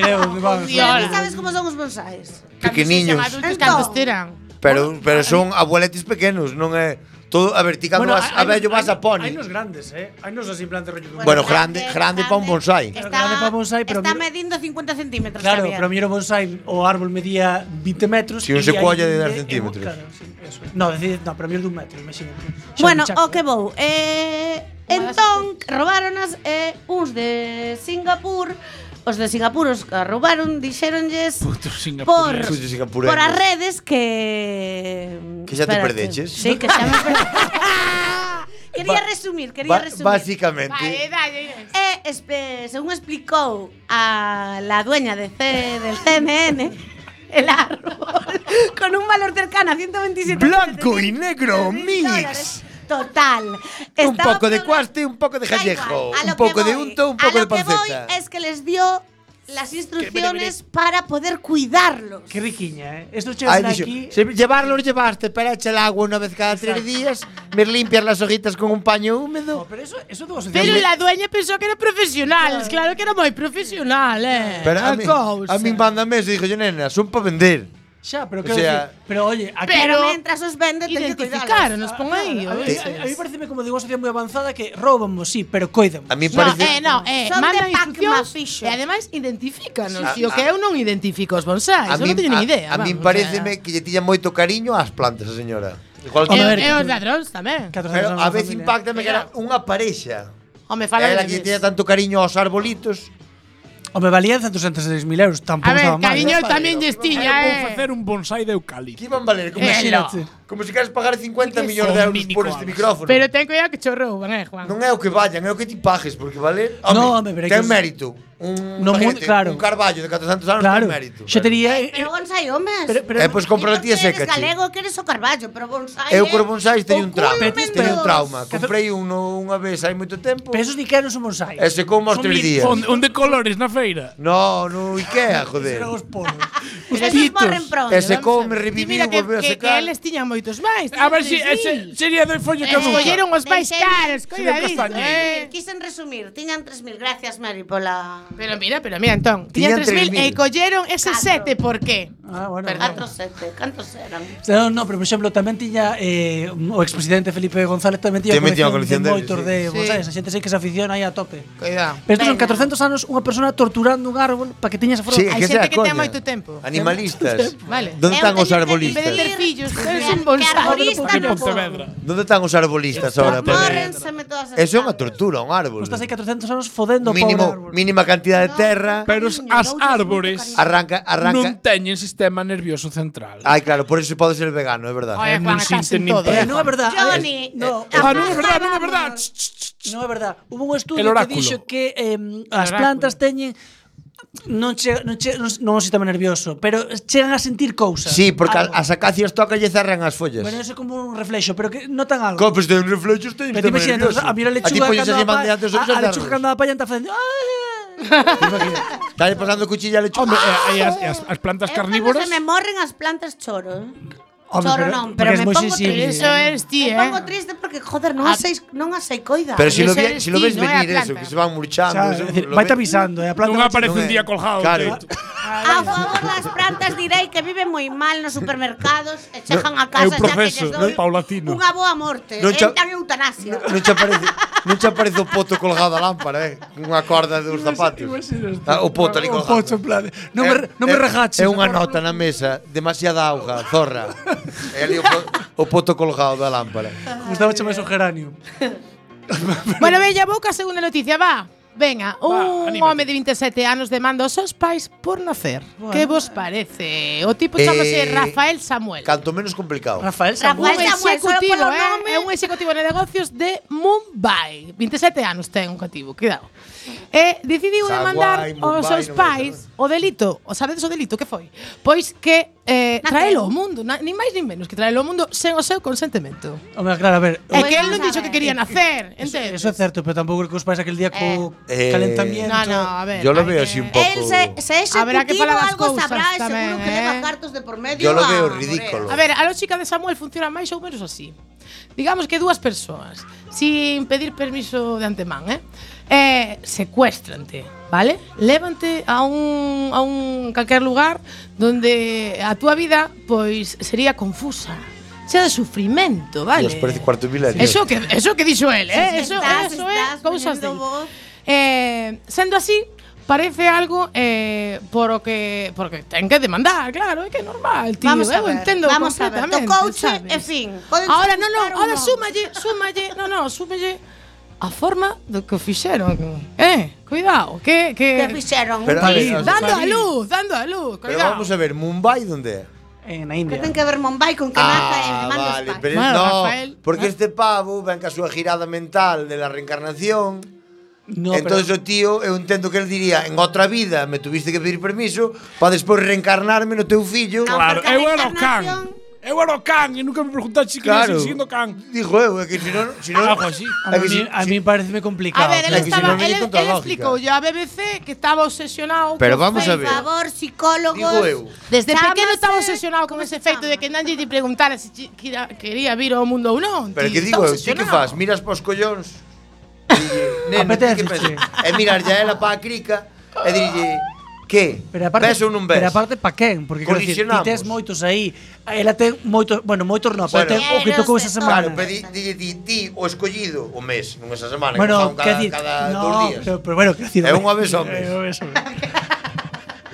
Speaker 13: Pero ti sabes como son os bonsáis.
Speaker 10: Pequeniños.
Speaker 14: Adultos cantos terán.
Speaker 10: Pero, pero son abueletis pequenos, non é... Todo, a ver, ti cando vas a vello vas a
Speaker 11: Hay
Speaker 10: poni.
Speaker 11: unos grandes, eh. Hay unos así en plan de rollo. que-
Speaker 10: Bueno, grande, grande pa un bonsai.
Speaker 13: Está,
Speaker 11: grande pa bonsai, pero
Speaker 13: está
Speaker 11: mira-
Speaker 13: medindo 50 centímetros.
Speaker 11: Claro,
Speaker 13: Javier.
Speaker 11: pero miro bonsai o árbol medía 20 metros.
Speaker 10: Si un
Speaker 11: y
Speaker 10: secuoia
Speaker 11: hay
Speaker 10: de 10
Speaker 11: un
Speaker 10: centímetros.
Speaker 11: claro, sí, eso. No, decir, no, pero miro de un metro, imagínate. Xa
Speaker 13: Bueno,
Speaker 11: me chaco,
Speaker 13: o que vou. Eh, entón, robaronas eh, uns de Singapur, os de Singapur os que roubaron, dixéronlles por,
Speaker 12: pues,
Speaker 10: Putos singapureños.
Speaker 13: por as redes que...
Speaker 10: Que xa te
Speaker 13: Espera,
Speaker 10: perdeches.
Speaker 13: que- Sí, que xa me perdeches. quería resumir, quería
Speaker 10: Ba-
Speaker 13: resumir.
Speaker 10: Básicamente.
Speaker 14: Vale, dale, Inés.
Speaker 13: Eh, espe- según explicou a la dueña de C- del CNN, el árbol, con un valor cercano a 127
Speaker 10: Blanco y negro mix.
Speaker 13: Total.
Speaker 10: Un
Speaker 13: Estaba
Speaker 10: poco de
Speaker 13: programado-
Speaker 10: cuaste, un poco de
Speaker 13: Da
Speaker 10: jallejo,
Speaker 13: igual, a lo
Speaker 10: un poco
Speaker 13: que
Speaker 10: de
Speaker 13: voy,
Speaker 10: unto, un
Speaker 13: a
Speaker 10: poco de
Speaker 13: lo que voy
Speaker 10: panceta.
Speaker 13: es que les dio las instrucciones para poder cuidarlos.
Speaker 11: Qué riquiña, eh. Estos
Speaker 10: Ay,
Speaker 11: chicos
Speaker 10: dicho,
Speaker 11: aquí.
Speaker 10: "Se- llevarlos, llevaste para echar el agua una vez cada tres días, me limpias las hojitas con un paño húmedo.
Speaker 11: Pero eso, eso tuvo
Speaker 14: Pero la dueña pensó que era profesional, claro que era moi profesional, eh.
Speaker 10: Pero a
Speaker 14: A
Speaker 10: mí,
Speaker 14: cousa.
Speaker 10: a mí mándame eso, dijo yo, nena, son para vender.
Speaker 11: Ya, pero
Speaker 10: O
Speaker 11: quiero
Speaker 10: sea-
Speaker 11: decir, Pero oye, aquí.
Speaker 13: Pero
Speaker 14: Pero-
Speaker 13: mientras os venden, ten que
Speaker 14: Identificaron,
Speaker 13: cuidarlos.
Speaker 14: nos pon aí.
Speaker 11: Ah, a, mí,
Speaker 14: oye.
Speaker 11: a- a mí pareceme como de una sociedad muy avanzada que roban, pues sí, pero coidan.
Speaker 10: A mí
Speaker 14: No,
Speaker 10: parece.
Speaker 14: eh, no, eh,
Speaker 13: Son
Speaker 14: mandan
Speaker 13: de pack
Speaker 14: instruccións
Speaker 13: mafixo.
Speaker 14: e ademais identifícanos.
Speaker 10: Sí,
Speaker 14: Sí, o
Speaker 10: a-
Speaker 14: que eu non identifico os bonsais,
Speaker 10: a
Speaker 14: eu non teño
Speaker 10: a-
Speaker 14: ni idea.
Speaker 10: a mí
Speaker 14: vamos, Eh,
Speaker 10: pareceme que lle tiña moito cariño ás plantas, a señora. Igual
Speaker 14: o sea,
Speaker 10: que-
Speaker 14: E, e eh, os ladróns tamén.
Speaker 10: pero a vez impactame que era unha parexa.
Speaker 14: Home, fala
Speaker 10: Era
Speaker 14: de
Speaker 10: que
Speaker 14: que
Speaker 10: tiña tanto cariño aos arbolitos.
Speaker 11: Hombre, valían 166.000 euros. Tampoco
Speaker 14: A ver,
Speaker 11: estaba mal.
Speaker 14: cariño, tamén lles tiña, eh.
Speaker 12: facer un bonsai de eucalipto.
Speaker 10: Que iban valer como, se
Speaker 14: Imagínate.
Speaker 10: si, como se queres pagar 50
Speaker 14: Que
Speaker 10: millóns
Speaker 14: son
Speaker 10: de euros por este micrófono.
Speaker 14: Pero ten cuidado que chorrou, né, Juan?
Speaker 10: non é o que vayan, é o que ti pagues, porque vale? Home,
Speaker 11: No, home, pero é
Speaker 10: ten
Speaker 11: que-
Speaker 10: mérito. Un,
Speaker 11: No, mu-
Speaker 10: paquete,
Speaker 11: claro.
Speaker 10: un carballo de 400 anos
Speaker 11: Claro.
Speaker 10: ten mérito.
Speaker 11: Yo te diría.
Speaker 13: Pero bonsai, homes.
Speaker 10: eh, pois compra a tía
Speaker 13: eres
Speaker 10: seca, che.
Speaker 13: galego, que eres o carballo, pero eh. bonsai.
Speaker 10: Eu
Speaker 13: é-
Speaker 10: cor bonsais teño un trauma,
Speaker 13: Ocúlmeme
Speaker 10: teño un
Speaker 13: dos.
Speaker 10: trauma. Comprei uno unha vez hai moito tempo.
Speaker 11: ¿eh? Pero esos ni que non son bonsai.
Speaker 10: E secou os
Speaker 12: Un
Speaker 10: tres
Speaker 12: mil-
Speaker 10: días.
Speaker 12: Un, un de colores na feira.
Speaker 10: No, no Ikea, joder.
Speaker 14: Pero esos pitos. morren pronto,
Speaker 10: E secou,
Speaker 14: vamos
Speaker 10: me
Speaker 14: a ver. Ti
Speaker 10: reviviu,
Speaker 14: mira que-
Speaker 10: volveu a
Speaker 14: que- que
Speaker 10: secar.
Speaker 14: eles tiñan moitos máis.
Speaker 12: A ver si
Speaker 14: tiñan tres mil.
Speaker 12: ese sería de follo
Speaker 14: Eh,
Speaker 12: caduca.
Speaker 14: escolleron os máis
Speaker 13: Deixei-
Speaker 14: caros,
Speaker 12: Sería un
Speaker 14: coidadito,
Speaker 12: castañeiro.
Speaker 14: eh.
Speaker 13: Quisen resumir, tiñan 3.000. Gracias, Mari, pola.
Speaker 14: Pero mira, pero mira, entón,
Speaker 13: Tiñan
Speaker 14: tiñan 3.000
Speaker 13: 3.000.
Speaker 14: e colleron ese 7, por qué?
Speaker 11: Ah, bueno.
Speaker 13: Catro sete, cantos eran?
Speaker 11: No, no, pero por exemplo, tamén tiña eh, o expresidente Felipe González tamén tiña
Speaker 10: Tamén tiña
Speaker 11: colección,
Speaker 10: colección
Speaker 11: de
Speaker 10: deles,
Speaker 11: moitos
Speaker 10: sí.
Speaker 11: de
Speaker 10: Sí.
Speaker 11: bonsais, a xente sei que se aficiona aí a tope.
Speaker 14: Cuidado.
Speaker 11: Pero estos son 400 anos unha persona torturando un árbol para que teña esa flor.
Speaker 10: Sí, é que sea coña.
Speaker 14: tempo.
Speaker 10: Animalistas.
Speaker 14: Vale. Eh,
Speaker 10: Donde están os
Speaker 14: En vez de ter
Speaker 10: arbolistas?
Speaker 14: fillos, eres un bonsai.
Speaker 13: Arborista no puedo.
Speaker 10: Donde están os arbolistas ahora? pues. Porque
Speaker 13: Mórrenseme todas as
Speaker 10: Eso é unha tortura, un árbol.
Speaker 11: Estás aí 400 anos fodendo o pobre árbol.
Speaker 10: Mínimo, mínima cantidad de terra.
Speaker 12: Pero os- as árbores
Speaker 10: Arranca, arranca.
Speaker 12: non teñen sistema nervioso central.
Speaker 10: Ai, claro, por eso pode ser vegano, é verdade.
Speaker 12: Oye, Juan,
Speaker 10: Eh, sinten
Speaker 12: acasen
Speaker 10: nin
Speaker 12: todo,
Speaker 10: prefa.
Speaker 12: eh,
Speaker 11: No é verdade. a ver,
Speaker 13: Johnny,
Speaker 11: No,
Speaker 12: Ah, non é verdade, non é verdade.
Speaker 11: No é verdade. Hubo un estudio
Speaker 12: El
Speaker 11: que
Speaker 12: oráculo.
Speaker 11: dixo que em, as
Speaker 12: oráculo.
Speaker 11: plantas teñen non che, non che, non, non o sistema nervioso, pero chegan a sentir cousas.
Speaker 10: Sí, porque
Speaker 11: Algo.
Speaker 10: as acacias tocan e cerran as follas.
Speaker 11: Bueno, eso é como un reflexo, pero que notan algo.
Speaker 10: Copes pues de reflexos teñen
Speaker 11: Pero te imaginas,
Speaker 10: sistema nervioso.
Speaker 11: a mira a
Speaker 10: ti
Speaker 11: lechuga
Speaker 10: pollas
Speaker 11: cando
Speaker 10: así
Speaker 11: a, pa-
Speaker 10: mandeantes os
Speaker 11: a, a lechuga
Speaker 10: ollos
Speaker 11: cando a palla está facendo
Speaker 10: Estás pasando cuchilla a lechuga.
Speaker 12: Hombre, eh, eh, as, as, as plantas
Speaker 13: Cando
Speaker 12: carnívoras
Speaker 13: se me morren as plantas choro. eh.
Speaker 12: Hombre,
Speaker 13: choro
Speaker 12: pero-
Speaker 13: non,
Speaker 12: porque
Speaker 13: pero
Speaker 12: es
Speaker 13: me
Speaker 12: muy
Speaker 13: pongo
Speaker 12: sensible.
Speaker 13: triste.
Speaker 12: Eso
Speaker 14: es ti,
Speaker 13: Me
Speaker 14: eh. Ah.
Speaker 13: pongo triste porque, joder, non as seis, non as sei coida.
Speaker 10: Pero si lo, vi, si lo ves venir eso, que se van murchando.
Speaker 11: Xa,
Speaker 10: eso,
Speaker 11: es decir,
Speaker 10: lo
Speaker 11: vaite
Speaker 10: ve-
Speaker 11: avisando, eh, a planta
Speaker 12: non
Speaker 11: vai
Speaker 12: aparece un
Speaker 11: chegando.
Speaker 12: día colgado.
Speaker 10: Claro.
Speaker 12: tío.
Speaker 13: A favor das Ah, plantas direi que viven moi mal nos supermercados e chegan a
Speaker 12: É
Speaker 13: casa
Speaker 12: un proceso
Speaker 13: xa que lles dou
Speaker 12: paulatino.
Speaker 13: unha boa morte. eh,
Speaker 10: Non cha-
Speaker 13: Entran en eutanasia.
Speaker 10: Non che aparece, non che aparece o poto colgado a lámpara, eh? Unha corda dos zapatos. Ah, o poto ali
Speaker 11: O
Speaker 10: colgado.
Speaker 11: poto, en plan de, non me- non me
Speaker 10: É-
Speaker 11: regaches,
Speaker 10: É
Speaker 11: por
Speaker 10: unha
Speaker 11: favor.
Speaker 10: nota na mesa, demasiada auga, zorra. É ali o, po- o poto colgado da lámpara.
Speaker 11: Gustavo máis o geranio.
Speaker 14: Bueno, bella boca, segunda noticia, va. Venga, un
Speaker 12: anímate.
Speaker 14: home de 27 anos demanda aos seus pais por nacer. Que vos parece? O tipo chamase
Speaker 10: Eh,
Speaker 14: Rafael Samuel.
Speaker 10: Canto menos complicado.
Speaker 11: Rafael
Speaker 14: un executivo,
Speaker 13: solo polo
Speaker 14: eh? É un executivo de negocios de Mumbai. 27 anos ten un cativo, cuidado. E decidiu
Speaker 10: Saguai,
Speaker 14: demandar
Speaker 10: Mumbai,
Speaker 14: aos seus
Speaker 10: non me
Speaker 14: pais o delito. O sabedes o delito que foi? Pois que eh,
Speaker 13: Nacer.
Speaker 14: traelo ao mundo, na, nin máis nin menos, que traelo ao mundo sen o seu consentimento.
Speaker 11: Home, claro, a ver.
Speaker 14: É
Speaker 13: Pois
Speaker 14: que el
Speaker 13: vamos
Speaker 14: non
Speaker 13: a
Speaker 14: dixo que
Speaker 13: ver.
Speaker 14: quería nacer,
Speaker 11: Eso,
Speaker 14: entendes?
Speaker 11: eso é certo, pero tampouco creo que os pais aquel día co
Speaker 10: Eh,
Speaker 11: calentamiento.
Speaker 14: No, no, a ver.
Speaker 10: Yo lo
Speaker 14: hay
Speaker 10: veo
Speaker 14: que-
Speaker 10: así un poco.
Speaker 13: El se, se é
Speaker 14: Habrá que
Speaker 13: executivo,
Speaker 14: falar das
Speaker 13: algo
Speaker 14: cousas
Speaker 13: sabrá, e
Speaker 14: tamén,
Speaker 13: seguro que
Speaker 14: eh.
Speaker 13: leva cartos de por medio.
Speaker 10: Yo
Speaker 13: Ah,
Speaker 10: lo
Speaker 13: a
Speaker 10: veo
Speaker 13: morrer.
Speaker 10: ridículo.
Speaker 14: A ver, a lógica de Samuel funciona máis ou menos así. Digamos que dúas persoas, sin pedir permiso de antemán, eh? Eh, secuéstrante, vale? Levante a un a un calquer lugar donde a túa vida pois sería confusa. Sea de sufrimento, vale?
Speaker 10: Dios, parece cuarto milenio.
Speaker 14: Eso que eso que dixo el,
Speaker 13: Sí,
Speaker 14: eh?
Speaker 13: sí,
Speaker 14: Eso,
Speaker 13: estás-
Speaker 14: eso
Speaker 13: estás
Speaker 14: é cousas
Speaker 13: poniendo
Speaker 14: del.
Speaker 13: voz.
Speaker 14: Eh, sendo así, parece algo eh, por o que porque ten que demandar, claro, é que é normal, tío,
Speaker 13: Vamos a
Speaker 14: eu
Speaker 13: ver,
Speaker 14: entendo
Speaker 13: vamos a ver.
Speaker 14: completamente.
Speaker 13: Tocouche,
Speaker 14: sabes?
Speaker 13: e fin. Podes
Speaker 14: Ahora non, non,
Speaker 13: buscar
Speaker 14: ahora
Speaker 13: uno.
Speaker 14: súmalle, súmalle, non, non, súmalle a forma do que o fixeron. Eh, cuidado, que
Speaker 13: Que
Speaker 14: que
Speaker 13: fixeron un
Speaker 10: Pero, a ver,
Speaker 13: país.
Speaker 10: vamos-
Speaker 14: dando a luz, dando a luz,
Speaker 10: Pero
Speaker 14: cuidado.
Speaker 10: vamos a ver, Mumbai onde é?
Speaker 11: En a
Speaker 13: Que
Speaker 11: India.
Speaker 13: ten que ver Mumbai con que nace e
Speaker 10: Ah,
Speaker 13: manda os
Speaker 10: vale,
Speaker 13: pais.
Speaker 10: pero
Speaker 14: Bueno,
Speaker 10: no,
Speaker 14: Rafael,
Speaker 10: porque
Speaker 14: ¿no?
Speaker 10: este pavo ven ca súa girada mental de la reencarnación.
Speaker 11: No,
Speaker 10: Entonces
Speaker 11: pero,
Speaker 10: o tío, eu entendo que el diría, en outra vida me tuviste que pedir permiso para despois reencarnarme no teu fillo.
Speaker 12: Claro,
Speaker 13: No, Ah, porque a
Speaker 12: eu era o can.
Speaker 13: reencarnación-
Speaker 12: Eu era o can e nunca me preguntaste se quería
Speaker 10: Claro.
Speaker 12: seguir sendo can. Ah,
Speaker 10: Dijo eu, é que si non, si non,
Speaker 12: Algo así.
Speaker 11: Pues a
Speaker 10: é que
Speaker 11: mí,
Speaker 10: si,
Speaker 11: a mí pareceme complicado.
Speaker 14: A ver, él
Speaker 10: Claro, que si
Speaker 14: estaba,
Speaker 10: no, no
Speaker 14: él,
Speaker 10: hay contra
Speaker 14: él
Speaker 10: lógica.
Speaker 14: explicou yo a BBC que estaba obsesionado
Speaker 10: Pero
Speaker 14: con
Speaker 10: vamos a
Speaker 13: Por
Speaker 10: ver.
Speaker 13: favor, psicólogos.
Speaker 10: Digo eu.
Speaker 14: Desde
Speaker 13: chámase-
Speaker 14: pequeno estaba obsesionado con
Speaker 13: ¿Cómo se
Speaker 14: ese efecto
Speaker 13: chama?
Speaker 14: de que nadie te preguntara se chi- quira- quería vir ao mundo ou non.
Speaker 10: Pero
Speaker 14: tío,
Speaker 10: que digo
Speaker 14: está
Speaker 10: eu, ti que
Speaker 14: obsesionado.
Speaker 10: faz? Miras pos collóns. e dille, Neno, ti
Speaker 11: Apetece,
Speaker 10: que pensas? E mirar ya ela pa a crica e dirille, que?
Speaker 11: Pero aparte,
Speaker 10: ves ou non ves?
Speaker 11: pero aparte pa quen? Porque quero dicir, ti
Speaker 10: Colisionamos.
Speaker 11: tes moitos aí. Ela ten moitos, bueno, moitos no, pero
Speaker 10: Bueno.
Speaker 11: ten o que tocou esa semana.
Speaker 10: Claro, pero di, dille ti, ti o escollido o mes, non esa semana, que
Speaker 11: Bueno,
Speaker 10: fan
Speaker 11: quer
Speaker 10: cada,
Speaker 11: dicir,
Speaker 10: cada
Speaker 11: no,
Speaker 10: dos días.
Speaker 11: pero, pero bueno, quer dicir, eh,
Speaker 10: É unha vez ao
Speaker 11: É
Speaker 10: mes.
Speaker 11: unha vez ao mes.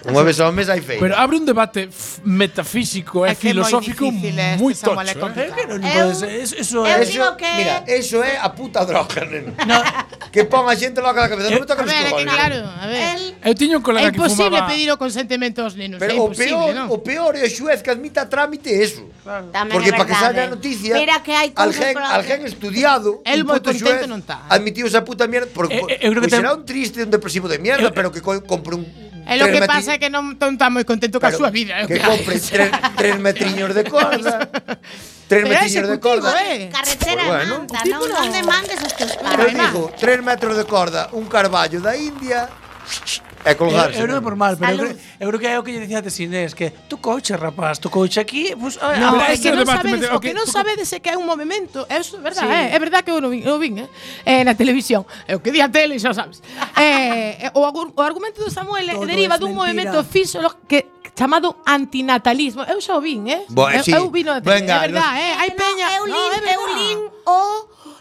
Speaker 10: Unha vez ao mes hai feira.
Speaker 12: Pero abre un debate f- metafísico e
Speaker 14: É que é moi
Speaker 12: filosófico
Speaker 14: difícil este,
Speaker 12: moi
Speaker 14: Samuel, é
Speaker 12: tocho. eh.
Speaker 14: complicado.
Speaker 11: Pero non
Speaker 13: Eu-
Speaker 11: podes, eso, eso
Speaker 13: eu
Speaker 11: é
Speaker 13: digo que-
Speaker 10: Mira, eso é a puta droga, neno.
Speaker 11: No, Eh,
Speaker 10: que pon a xente loca na cabeza. Non me toca
Speaker 14: A
Speaker 10: nos
Speaker 14: ver, é que
Speaker 10: cojones.
Speaker 14: claro, a ver.
Speaker 12: Eu tiño un
Speaker 14: É
Speaker 12: colega que
Speaker 14: imposible
Speaker 12: fumaba…
Speaker 14: pedir o consentemento aos nenos,
Speaker 10: Pero
Speaker 14: é
Speaker 10: o
Speaker 14: imposible,
Speaker 10: peor,
Speaker 14: non?
Speaker 10: o peor é o xuez que admita a trámite eso.
Speaker 14: Tamén
Speaker 10: Porque
Speaker 14: é
Speaker 10: para que
Speaker 14: verdade. eh.
Speaker 10: salga a noticia,
Speaker 14: Mira que hai
Speaker 10: al
Speaker 14: cousas
Speaker 10: gen,
Speaker 14: polas
Speaker 10: al
Speaker 14: que-
Speaker 10: gen estudiado,
Speaker 14: El
Speaker 10: un
Speaker 14: moi
Speaker 10: puto
Speaker 14: contento
Speaker 10: xuez
Speaker 14: non tá.
Speaker 10: admitiu esa puta mierda, porque
Speaker 14: Eh, eh, eu creo que
Speaker 10: pois
Speaker 14: ten-
Speaker 10: será un triste, un depresivo de
Speaker 11: Eh,
Speaker 10: mierda, pero que co- compre un
Speaker 14: É eh, lo
Speaker 10: tres
Speaker 14: que
Speaker 10: metri-
Speaker 14: pasa é que non non está moi contento coa
Speaker 10: Claro,
Speaker 14: súa vida. ¿eh? é o
Speaker 10: que
Speaker 14: que hai.
Speaker 10: compre tres, tres metriños de corda, tres
Speaker 14: Pero é
Speaker 10: metriños de
Speaker 14: executivo,
Speaker 10: corda.
Speaker 14: eh.
Speaker 13: Carretera
Speaker 10: Pues
Speaker 13: de
Speaker 10: bueno.
Speaker 13: manta, non, non demandes os teus
Speaker 10: Pero
Speaker 13: padres.
Speaker 10: dijo, tres metros de corda, un carballo da India
Speaker 14: ah,
Speaker 10: e colgarse.
Speaker 11: Eu,
Speaker 14: Eh,
Speaker 11: eu non é
Speaker 10: neno.
Speaker 11: por mal, pero eu
Speaker 10: Salud.
Speaker 11: creo, eu creo que é o que lle dicía antes Inés, que tú coche, rapaz, tú coche aquí, pues, a ver, a
Speaker 14: No,
Speaker 11: ver,
Speaker 14: é que
Speaker 11: ese
Speaker 14: non
Speaker 11: debate
Speaker 14: sabedes,
Speaker 11: mete-
Speaker 14: o
Speaker 11: ok,
Speaker 14: que non
Speaker 11: tú-
Speaker 14: sabedes é que hai un movimento, é iso, é verdade,
Speaker 11: Sí.
Speaker 14: eh, é verdade que eu non vin, eu vin, eh, eh, na televisión, é o que di a tele, xa o sabes. eh, eh, o, agur- o argumento do Samuel eh,
Speaker 11: Todo es
Speaker 14: deriva dun
Speaker 11: mentira.
Speaker 14: movimento fisiológico que chamado antinatalismo. Eu xa o vin, eh?
Speaker 10: Bo, eh,
Speaker 14: eu,
Speaker 10: sí.
Speaker 14: eu vino na tele,
Speaker 10: Venga,
Speaker 14: é
Speaker 10: los-
Speaker 14: verdade, eh? Hai peña,
Speaker 13: eu
Speaker 14: no,
Speaker 13: lin,
Speaker 14: é
Speaker 13: eu
Speaker 14: verdade.
Speaker 13: lin o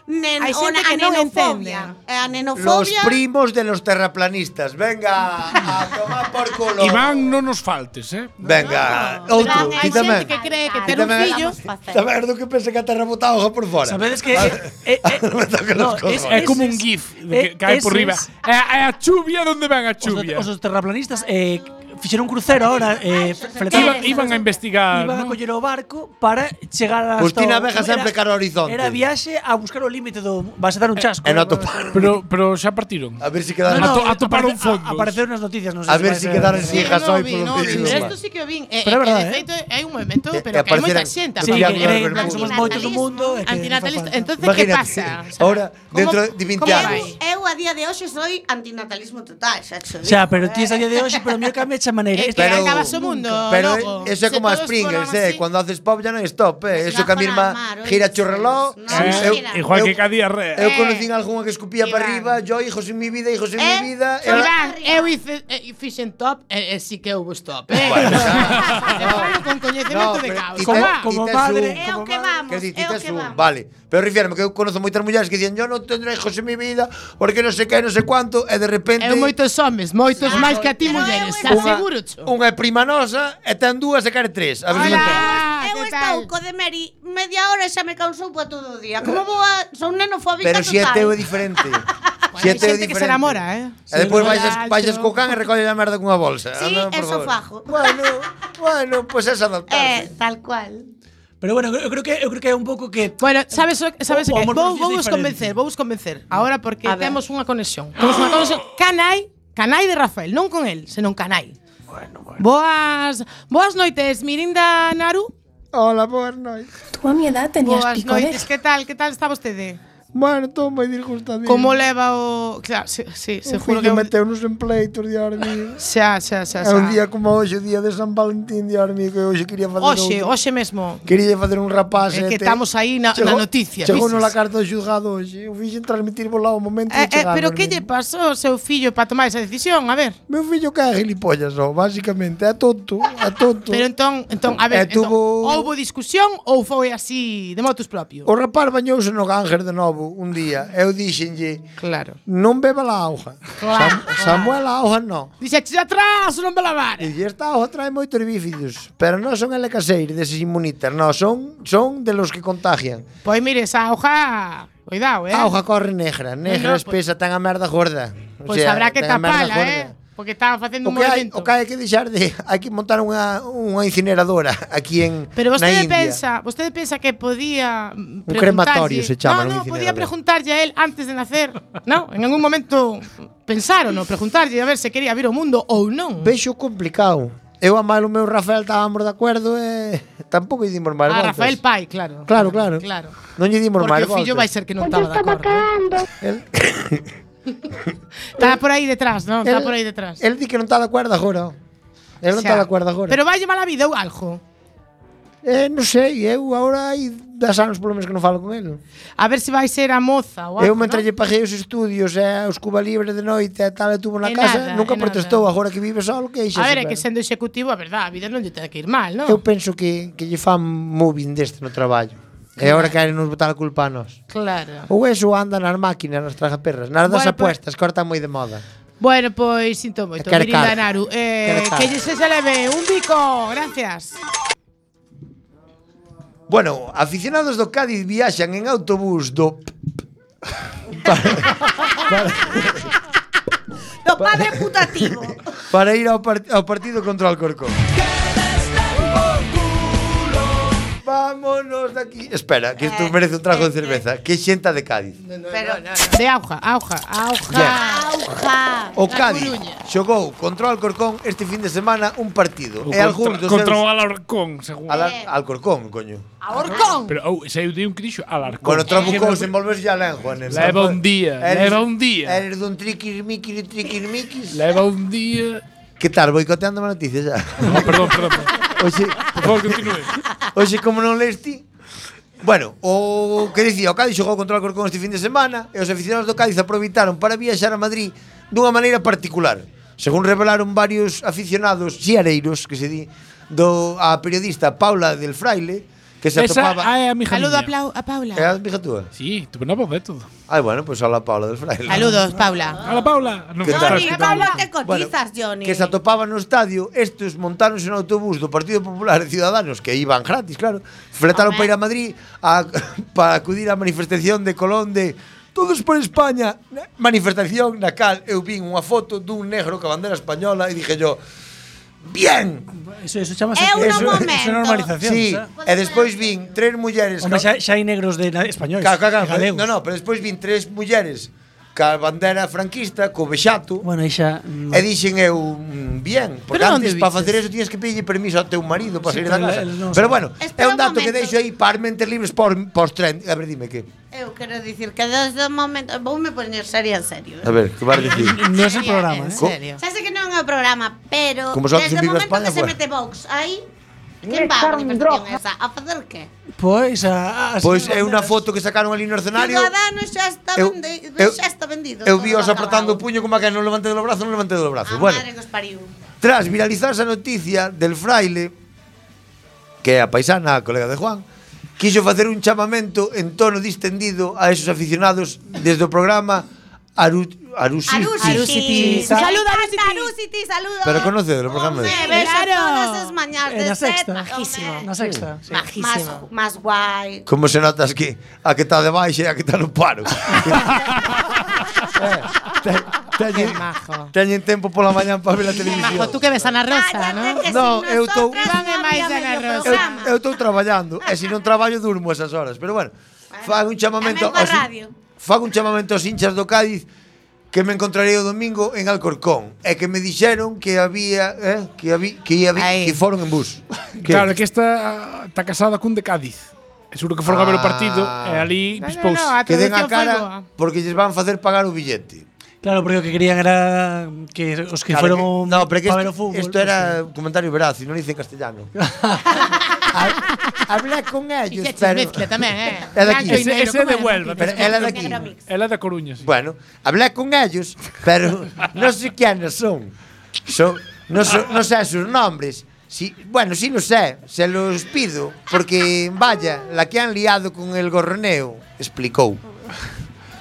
Speaker 13: nen,
Speaker 14: Hai
Speaker 13: o
Speaker 14: xente
Speaker 13: na-
Speaker 14: que non
Speaker 13: anenofobia.
Speaker 14: entende.
Speaker 13: Eh,
Speaker 10: Los
Speaker 13: Anenofobia.
Speaker 10: primos de los terraplanistas. Venga, a tomar por culo.
Speaker 12: Iván, non nos faltes, eh?
Speaker 10: Venga, outro,
Speaker 14: Hai
Speaker 10: ti
Speaker 14: xente
Speaker 10: tamén.
Speaker 14: que cree que
Speaker 10: Ti
Speaker 14: ter un
Speaker 10: tamén.
Speaker 14: fillo
Speaker 10: Tamén do que pensa que a terra botaba hoja por fora.
Speaker 11: Sabedes que
Speaker 10: no,
Speaker 11: es-
Speaker 12: É como un
Speaker 11: es-
Speaker 12: gif de
Speaker 11: eh,
Speaker 12: que cae por
Speaker 11: ese
Speaker 12: riba.
Speaker 11: es-
Speaker 12: É é a chuvia donde van a
Speaker 11: Os, do-
Speaker 12: chuvia.
Speaker 11: os dos terraplanistas eh, fixeron un crucero ahora, eh,
Speaker 12: Iban, Ah, iban a investigar,
Speaker 11: Iban a
Speaker 12: ¿no?
Speaker 11: coller o barco para chegar hasta
Speaker 10: Pois ti na
Speaker 11: o-
Speaker 10: veja
Speaker 11: era-
Speaker 10: sempre cara ao horizonte.
Speaker 11: Era viaxe a buscar o límite do vas a dar un chasco.
Speaker 10: E non atoparon.
Speaker 12: Pero, pero xa partiron.
Speaker 10: A ver si quedaron.
Speaker 12: No, no, a topar un fondo.
Speaker 11: Apareceron nas noticias, non sei
Speaker 10: A ver
Speaker 11: vai
Speaker 10: si
Speaker 11: ser-
Speaker 10: quedaron sin
Speaker 14: Sí,
Speaker 10: hijas
Speaker 14: no,
Speaker 10: hoy
Speaker 14: vi,
Speaker 10: por
Speaker 14: no,
Speaker 10: los
Speaker 14: vi,
Speaker 10: vídeos.
Speaker 14: Esto sí que o vin.
Speaker 11: Pero é
Speaker 14: Eh, eh, que,
Speaker 11: verdade,
Speaker 14: de
Speaker 11: eh.
Speaker 14: feito, hai un movimento,
Speaker 10: Eh,
Speaker 14: pero que hai
Speaker 10: apareceran-
Speaker 14: moita xente.
Speaker 11: Sí,
Speaker 10: Sí,
Speaker 11: que
Speaker 10: Triángulo de
Speaker 11: creen que
Speaker 10: Bermudas.
Speaker 11: somos moitos do mundo e que non fa
Speaker 14: Antinatalista.
Speaker 11: falta.
Speaker 14: Entonces, ¿qué
Speaker 10: Imagínate.
Speaker 14: pasa? O sea,
Speaker 10: Ahora, dentro de
Speaker 14: ¿cómo-
Speaker 10: 20
Speaker 14: cómo
Speaker 10: años.
Speaker 14: vais?
Speaker 13: Eu a día de hoxe soy antinatalismo total, xa cho
Speaker 11: O sea,
Speaker 13: digo,
Speaker 11: pero ti
Speaker 13: eh.
Speaker 11: es a día de hoxe, pero mío cambia esa maneira.
Speaker 14: É que
Speaker 11: Isto é-
Speaker 10: Pero-
Speaker 14: acaba su mundo.
Speaker 10: Pero
Speaker 14: loco.
Speaker 10: eso es
Speaker 14: Se
Speaker 10: como a
Speaker 14: todos
Speaker 10: Springers,
Speaker 14: fueran
Speaker 10: eh.
Speaker 14: así. Pues
Speaker 10: Cuando haces pop ya no hay stop, eh. Eso que a
Speaker 13: Bajo la
Speaker 10: mirma
Speaker 13: mar, oíste.
Speaker 10: gira cho reloj.
Speaker 13: No,
Speaker 12: Sí,
Speaker 13: no,
Speaker 12: eu-
Speaker 13: mira.
Speaker 12: igual que
Speaker 10: eu-
Speaker 12: cada día re.
Speaker 10: Eu
Speaker 14: Eh.
Speaker 10: conocí algún que escupía para arriba, yo hijos en mi vida, hijos en
Speaker 13: Eh,
Speaker 10: mi vida.
Speaker 13: soy
Speaker 10: era-
Speaker 13: va-
Speaker 14: Iván, eu hice eh, fixen top e, e sí que houve stop. Eh.
Speaker 10: Bueno,
Speaker 14: Te falo con
Speaker 10: No,
Speaker 14: coñecemento de
Speaker 10: pero
Speaker 14: causa.
Speaker 10: ti
Speaker 11: Como,
Speaker 10: te-
Speaker 14: va?
Speaker 11: como
Speaker 10: Quita
Speaker 11: madre,
Speaker 10: su-
Speaker 13: É o
Speaker 11: como
Speaker 13: que
Speaker 11: madre.
Speaker 13: vamos,
Speaker 10: Que si
Speaker 13: é o
Speaker 10: tites
Speaker 13: que
Speaker 10: un,
Speaker 13: vamos.
Speaker 10: vale. Pero refierme que eu conozo moitas mulleres que dicen yo non tendré hijos en mi vida porque non sei que, non sei cuánto e de repente
Speaker 14: Eu moitos homes, moitos
Speaker 13: Ah,
Speaker 14: máis que a ti
Speaker 13: pero eu
Speaker 14: mulleres, te
Speaker 13: estou-
Speaker 14: aseguro cho.
Speaker 10: unha é prima nosa e ten dúas e care tres. A ver se
Speaker 14: Hola,
Speaker 10: non ten.
Speaker 13: Eu
Speaker 14: que
Speaker 13: estou
Speaker 14: tal?
Speaker 13: co de Mary media hora e xa me causou pa todo o día. Como vou a... Son nenofóbica
Speaker 10: Pero
Speaker 13: total.
Speaker 10: si é teu é diferente.
Speaker 14: Bueno,
Speaker 10: Si é
Speaker 14: hai
Speaker 10: teu é
Speaker 14: xente que
Speaker 10: diferente.
Speaker 14: se enamora, eh.
Speaker 10: E despois vais as,
Speaker 14: Nacho.
Speaker 10: vais as co can e recolles a merda cunha bolsa.
Speaker 13: Sí,
Speaker 10: Anda, Ah, por
Speaker 13: eso
Speaker 10: favor.
Speaker 13: fajo.
Speaker 10: Bueno, bueno, pois pues é
Speaker 13: Eh,
Speaker 10: adaptarse.
Speaker 13: tal cual.
Speaker 11: Pero bueno, eu creo que eu creo que é un pouco que
Speaker 14: Bueno, sabes o- sabes
Speaker 11: O- o
Speaker 14: que
Speaker 11: amor
Speaker 14: vou
Speaker 11: por ti
Speaker 14: vou
Speaker 11: é
Speaker 14: vos
Speaker 11: diferente.
Speaker 14: convencer, vou vos convencer. Ahora porque
Speaker 13: A ver.
Speaker 14: temos unha conexión. Temos unha conexión canai, canai de Rafael, non con el, senón canai. Bueno, bueno. Boas, boas noites, Mirinda Naru.
Speaker 10: Hola, boas noites.
Speaker 15: Tú a mi edad tenías
Speaker 14: Boas noites,
Speaker 15: picores.
Speaker 14: que tal? Que tal está vostede?
Speaker 15: Bueno, estou moi disgustadín.
Speaker 14: Como leva o... Claro, sí, sí
Speaker 15: Se
Speaker 14: seguro
Speaker 15: que
Speaker 14: que...
Speaker 15: meteu nos empleitos de hormigo.
Speaker 14: Xa, xa,
Speaker 15: É
Speaker 14: xa, xa.
Speaker 15: un día como hoxe, o día de San Valentín de hormigo, que hoxe quería fazer
Speaker 14: Oxe,
Speaker 15: outro.
Speaker 14: oxe mesmo.
Speaker 15: Quería fazer un rapaz e
Speaker 14: É
Speaker 15: te-
Speaker 14: que estamos aí na- na
Speaker 15: Chegou-
Speaker 14: noticia,
Speaker 15: Chegou
Speaker 14: vises?
Speaker 15: na carta do xulgado hoxe. Eu fixen transmitir vos lá o momento de
Speaker 14: Eh, eh,
Speaker 15: chegar.
Speaker 14: pero que
Speaker 15: hormigo.
Speaker 14: lle pasou ao seu fillo para tomar esa decisión? A ver.
Speaker 15: Meu fillo que é gilipollas, só, basicamente. É tonto, é tonto.
Speaker 14: Pero entón, entón, a
Speaker 15: Eh,
Speaker 14: ver, entón,
Speaker 15: tuvo-
Speaker 14: houbo discusión ou foi así de motus propio?
Speaker 15: O rapaz bañouse no Ganger de novo un día. Eu dixenlle,
Speaker 14: Claro.
Speaker 15: non beba la auga.
Speaker 14: Claro.
Speaker 15: Samuel a auga non.
Speaker 14: Dixe, "Xa atrás, non me lavar.
Speaker 15: E esta hoja trae moitos bífidos, pero non son LK6 deses inmunitas, non, son, son de los que contagian.
Speaker 14: Pois mire, esa hoja, cuidado, eh.
Speaker 15: A hoja corre negra, negra
Speaker 14: No, no,
Speaker 15: espesa, tan a merda gorda. O
Speaker 14: Pois
Speaker 15: sea,
Speaker 14: habrá que
Speaker 15: tan a merda
Speaker 14: tapala,
Speaker 15: gorda.
Speaker 14: eh, porque estaba
Speaker 15: O
Speaker 14: facendo un
Speaker 15: que, hai,
Speaker 14: movimento.
Speaker 15: o que hai que deixar de... Hai que montar unha, unha incineradora aquí en
Speaker 14: Pero
Speaker 15: na
Speaker 14: vostede
Speaker 15: India.
Speaker 14: pensa, vostede pensa que podía mm,
Speaker 15: Un crematorio
Speaker 14: preguntarlle-
Speaker 15: se chama, non
Speaker 14: no, no, podía
Speaker 15: incinerador.
Speaker 14: preguntarlle a él antes de nacer, no, en algún momento pensaron, no, preguntarlle a ver se quería vir o mundo ou non.
Speaker 15: Vexo complicado. Eu a mal o meu Rafael estábamos de acordo e tampouco lle dimos máis
Speaker 14: a
Speaker 15: voltas.
Speaker 14: Ah, Rafael Pai, claro.
Speaker 15: Claro, claro.
Speaker 14: Claro.
Speaker 15: Non lle dimos máis
Speaker 14: Porque o
Speaker 15: voltas.
Speaker 14: fillo vai ser que non estaba de acordo.
Speaker 15: El-
Speaker 14: Está por aí detrás, non? Está
Speaker 15: el-
Speaker 14: por aí detrás.
Speaker 15: El di que non está de acordo agora. El non
Speaker 14: O
Speaker 15: está
Speaker 14: sea,
Speaker 15: de acordo agora.
Speaker 14: Pero vai mala vida ou algo.
Speaker 15: Eh, non sei, eu agora hai 10 anos polo menos que non falo con el.
Speaker 14: A ver se vai ser a moza ou algo.
Speaker 15: eu mentre
Speaker 14: non?
Speaker 15: lle paguei os estudios e os Cuba Libre de noite e tal, e tuvo na
Speaker 14: E
Speaker 15: casa,
Speaker 14: nada,
Speaker 15: nunca
Speaker 14: e
Speaker 15: protestou,
Speaker 14: nada.
Speaker 15: agora que vive só, que
Speaker 14: A ver, é que sendo executivo, a verdade, a vida non lle ten que ir mal, non?
Speaker 15: Eu penso que, que lle fan moving deste no traballo. E agora queren nos botar a culpa a nós.
Speaker 14: Claro.
Speaker 15: Ou eso anda nas máquinas, nas tragaperras, nas das
Speaker 14: Bueno, pero-
Speaker 15: apuestas, que corta moi de moda.
Speaker 14: Bueno, pues, pois sinto moito,
Speaker 15: Quero cara.
Speaker 14: Mirinda Naru. Eh,
Speaker 15: Quero cara.
Speaker 14: que lle se leve un bico, gracias.
Speaker 10: Bueno, aficionados do Cádiz viaxan en autobús do
Speaker 13: Do padre putativo.
Speaker 10: para ir ao, par- ao partido contra o Alcorcón. Vámonos de aquí. Espera, que isto merece un trago de cerveza. Que xenta de Cádiz.
Speaker 14: Pero de auja, auja, auja.
Speaker 13: Auja.
Speaker 10: O Cádiz xogou contra o Alcorcón este fin de semana un partido.
Speaker 12: O
Speaker 10: e algún
Speaker 12: contra-
Speaker 10: dos
Speaker 12: contra
Speaker 10: seus-
Speaker 12: o Alarcón, seguro.
Speaker 10: Ala- Alcorcón, coño.
Speaker 14: Alarcón.
Speaker 12: Pero oh, saiu de un crixo Alarcón.
Speaker 10: Bueno, trabucou, se envolves ya lenjo, nena.
Speaker 12: Leva un día, leva un día.
Speaker 10: Eres dun triquirmiquiri, triquirmiquis.
Speaker 12: Leva un día.
Speaker 10: Que tal, boicoteando a noticia xa?
Speaker 12: No, perdón, perdón.
Speaker 10: Oxe,
Speaker 12: Por favor, continúe.
Speaker 10: Oxe, como non lees ti? Bueno, o que dicía, o Cádiz xogou contra o Alcorcón este fin de semana e os aficionados do Cádiz aproveitaron para viaxar a Madrid dunha maneira particular. Según revelaron varios aficionados xiareiros, que se di, do a periodista Paula del Fraile, que se
Speaker 12: Esa
Speaker 10: atopaba...
Speaker 12: é a mija
Speaker 14: Saludo a,
Speaker 12: miña.
Speaker 14: Plau- a Paula.
Speaker 10: É a mija túa?
Speaker 12: Sí, tuve una voz de todo.
Speaker 10: Ai, bueno, pois pues, a la Paula del Fraile.
Speaker 14: Saludos, Paula.
Speaker 12: A la Paula.
Speaker 10: Que tal?
Speaker 13: Johnny, Paula, te
Speaker 10: Bueno,
Speaker 13: cotizas, Johnny.
Speaker 10: que se atopaban no estadio, estes montaronse no autobús do Partido Popular e Ciudadanos, que iban gratis, claro, fletaron para ir a Madrid a, para acudir á manifestación de Colón de Todos por España, na- manifestación na cal eu vin unha foto dun negro ca bandeira española e dije yo, bien!
Speaker 11: Eso, eso chamase...
Speaker 13: É un
Speaker 11: eso,
Speaker 13: momento.
Speaker 11: Eso é normalización,
Speaker 10: Sí,
Speaker 11: xa.
Speaker 10: e despois vin tres mulleres
Speaker 11: Hombre,
Speaker 10: ca-
Speaker 11: xa, xa hai negros de na- españoles.
Speaker 10: Claro, claro, claro,
Speaker 11: galegos.
Speaker 10: no, no, pero despois vin tres mulleres ca bandeira franquista, co vexato.
Speaker 11: Bueno, aí xa...
Speaker 10: E dixen eu, mm, bien, porque
Speaker 11: Pero
Speaker 10: antes
Speaker 11: onde
Speaker 10: para
Speaker 11: viches?
Speaker 10: facer eso tiñas que pedirlle permiso ao teu marido para
Speaker 11: Sí,
Speaker 10: sair da
Speaker 11: pero
Speaker 10: casa.
Speaker 11: el non
Speaker 10: Pero
Speaker 11: sabe.
Speaker 10: bueno, é un dato que deixo aí para mentes libres por por tren. A ver, dime que.
Speaker 13: Eu quero dicir que desde o momento... Vou me poñer seria en serio.
Speaker 10: A ver, que vas dicir?
Speaker 11: Non é o programa, eh?
Speaker 10: en Co-
Speaker 13: Xa sei que non é o programa, pero
Speaker 10: Como só
Speaker 13: desde
Speaker 10: que se
Speaker 13: o
Speaker 10: viva
Speaker 13: momento
Speaker 10: España,
Speaker 13: que se
Speaker 10: pues.
Speaker 13: mete Vox aí, quen va a manifestación esa? A facer que?
Speaker 11: Pois a... a-
Speaker 10: Pois
Speaker 11: sí,
Speaker 10: é unha foto que sacaron ali no escenario.
Speaker 13: Ciudadanos xa está,
Speaker 10: Eu-
Speaker 13: vende,
Speaker 10: eu-
Speaker 13: xa está vendido.
Speaker 10: Eu
Speaker 13: todo
Speaker 10: vi os
Speaker 13: acabado.
Speaker 10: apretando o puño como a que non levantei do brazo, non levantei do brazo.
Speaker 13: A
Speaker 10: Bueno,
Speaker 13: madre que os pariu.
Speaker 10: Tras viralizarse a noticia del fraile Que é a paisana, a colega de Juan Quiso facer un chamamento en tono distendido A esos aficionados desde o programa Aru, Arusi
Speaker 13: Arusiti.
Speaker 14: Saluda, Saluda,
Speaker 13: Arusiti. Arusiti, saludos.
Speaker 10: Pero conoce o programa
Speaker 13: Me
Speaker 10: de
Speaker 13: ves
Speaker 14: Claro.
Speaker 13: todas as mañás
Speaker 11: É
Speaker 13: de
Speaker 11: na
Speaker 13: set.
Speaker 11: sexta.
Speaker 13: Majísimo.
Speaker 11: Na sexta. sí.
Speaker 13: Más, más guai.
Speaker 10: Como se notas que a que está de baixa e a que está no paro Eh, te- teñen,
Speaker 14: Majo.
Speaker 10: teñen tempo pola mañán para ver a televisión
Speaker 14: Majo, tú que ves a Ana
Speaker 13: Ah,
Speaker 14: Rosa, ¿no?
Speaker 13: Que
Speaker 10: No,
Speaker 13: si
Speaker 10: eu estou
Speaker 13: nosotras
Speaker 14: Van e
Speaker 13: non
Speaker 14: máis
Speaker 13: había
Speaker 14: Ana
Speaker 13: medio
Speaker 14: Rosa.
Speaker 13: programa.
Speaker 10: Eu estou traballando e se non traballo durmo esas horas, pero bueno, fago un chamamento
Speaker 13: tamén coa
Speaker 10: aos
Speaker 13: radio.
Speaker 10: fago un chamamento aos hinchas do Cádiz que me encontrarei o domingo en Alcorcón e que me dixeron que había, eh, que había que ia
Speaker 14: Aí.
Speaker 10: que foron en bus. Que-
Speaker 12: Claro, é que esta está casada cun de Cádiz. E seguro que foron a ver o partido e ali pispouse.
Speaker 10: Ah.
Speaker 14: a
Speaker 10: que den a
Speaker 14: traducción foi
Speaker 10: cara porque lles van facer pagar o billete.
Speaker 11: Claro, porque o que querían era que os que
Speaker 10: Claro,
Speaker 11: fueron
Speaker 10: que- no, pero que
Speaker 11: pa ver o
Speaker 10: esto,
Speaker 11: fútbol.
Speaker 10: esto era un comentario veraz, e non dice en castellano. Habla con
Speaker 14: boa.
Speaker 10: ellos,
Speaker 14: E che
Speaker 10: pero
Speaker 14: mezcla tamén, eh.
Speaker 10: É de aquí.
Speaker 14: Blanco e
Speaker 12: Ese-
Speaker 14: negro,
Speaker 12: ese é
Speaker 14: como
Speaker 12: de
Speaker 14: era?
Speaker 12: Huelva.
Speaker 10: Pero ela de aquí.
Speaker 13: Micromix.
Speaker 12: Ela da Coruña, sí.
Speaker 10: Bueno, hablé con ellos, pero no sé quiénes son. Son- no, so- no sé sus nombres. Sí, bueno, sí lo sé, se los pido, porque vaya, la que han liado con el gorroneo, explicó.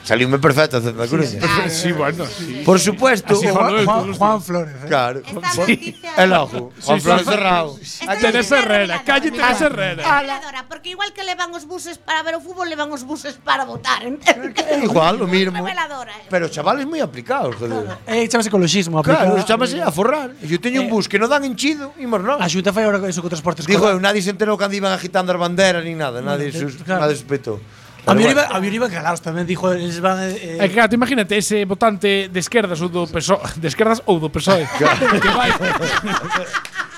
Speaker 10: Salióme perfecto haciendo la cruz.
Speaker 12: Sí, bueno, sí.
Speaker 10: Por supuesto,
Speaker 12: Así falou eu,
Speaker 11: Juan,
Speaker 12: todos os
Speaker 11: Juan Flores. eh.
Speaker 10: claro.
Speaker 13: Esta noticia-
Speaker 10: El ojo, Juan
Speaker 12: sí,
Speaker 10: Flores
Speaker 12: sí.
Speaker 10: Serrao.
Speaker 13: Esta noticia
Speaker 12: Teresa
Speaker 13: é
Speaker 12: Herrera,
Speaker 13: reveladora.
Speaker 12: calle Teresa Herrera.
Speaker 13: Reveladora, Porque igual que levan os buses para ver o fútbol, levan os buses para votar, entendes?
Speaker 10: Igual, lo mismo.
Speaker 13: Reveladora. eh.
Speaker 10: Pero chavales muy aplicados, joder.
Speaker 11: Eh, chamase ecologismo.
Speaker 10: Claro,
Speaker 11: aplicado.
Speaker 10: chámase a forrar. Yo tenía un bus que no dan enchido y más nada.
Speaker 11: Eh. A Xunta fai ahora eso co transporte
Speaker 10: Dijo,
Speaker 11: escolar.
Speaker 10: eu, nadie se enterou cando iban agitando as bandeiras ni nada, nadie,
Speaker 11: eh,
Speaker 10: sus,
Speaker 11: claro.
Speaker 10: nadie suspectou.
Speaker 11: a mí
Speaker 10: Pero
Speaker 11: iba,
Speaker 10: bueno,
Speaker 11: a mí iba calaos tamén, dijo, eles van eh,
Speaker 12: É que, claro, tú imagínate ese votante de esquerdas ou do PSOE, de esquerdas ou do PSOE, que vai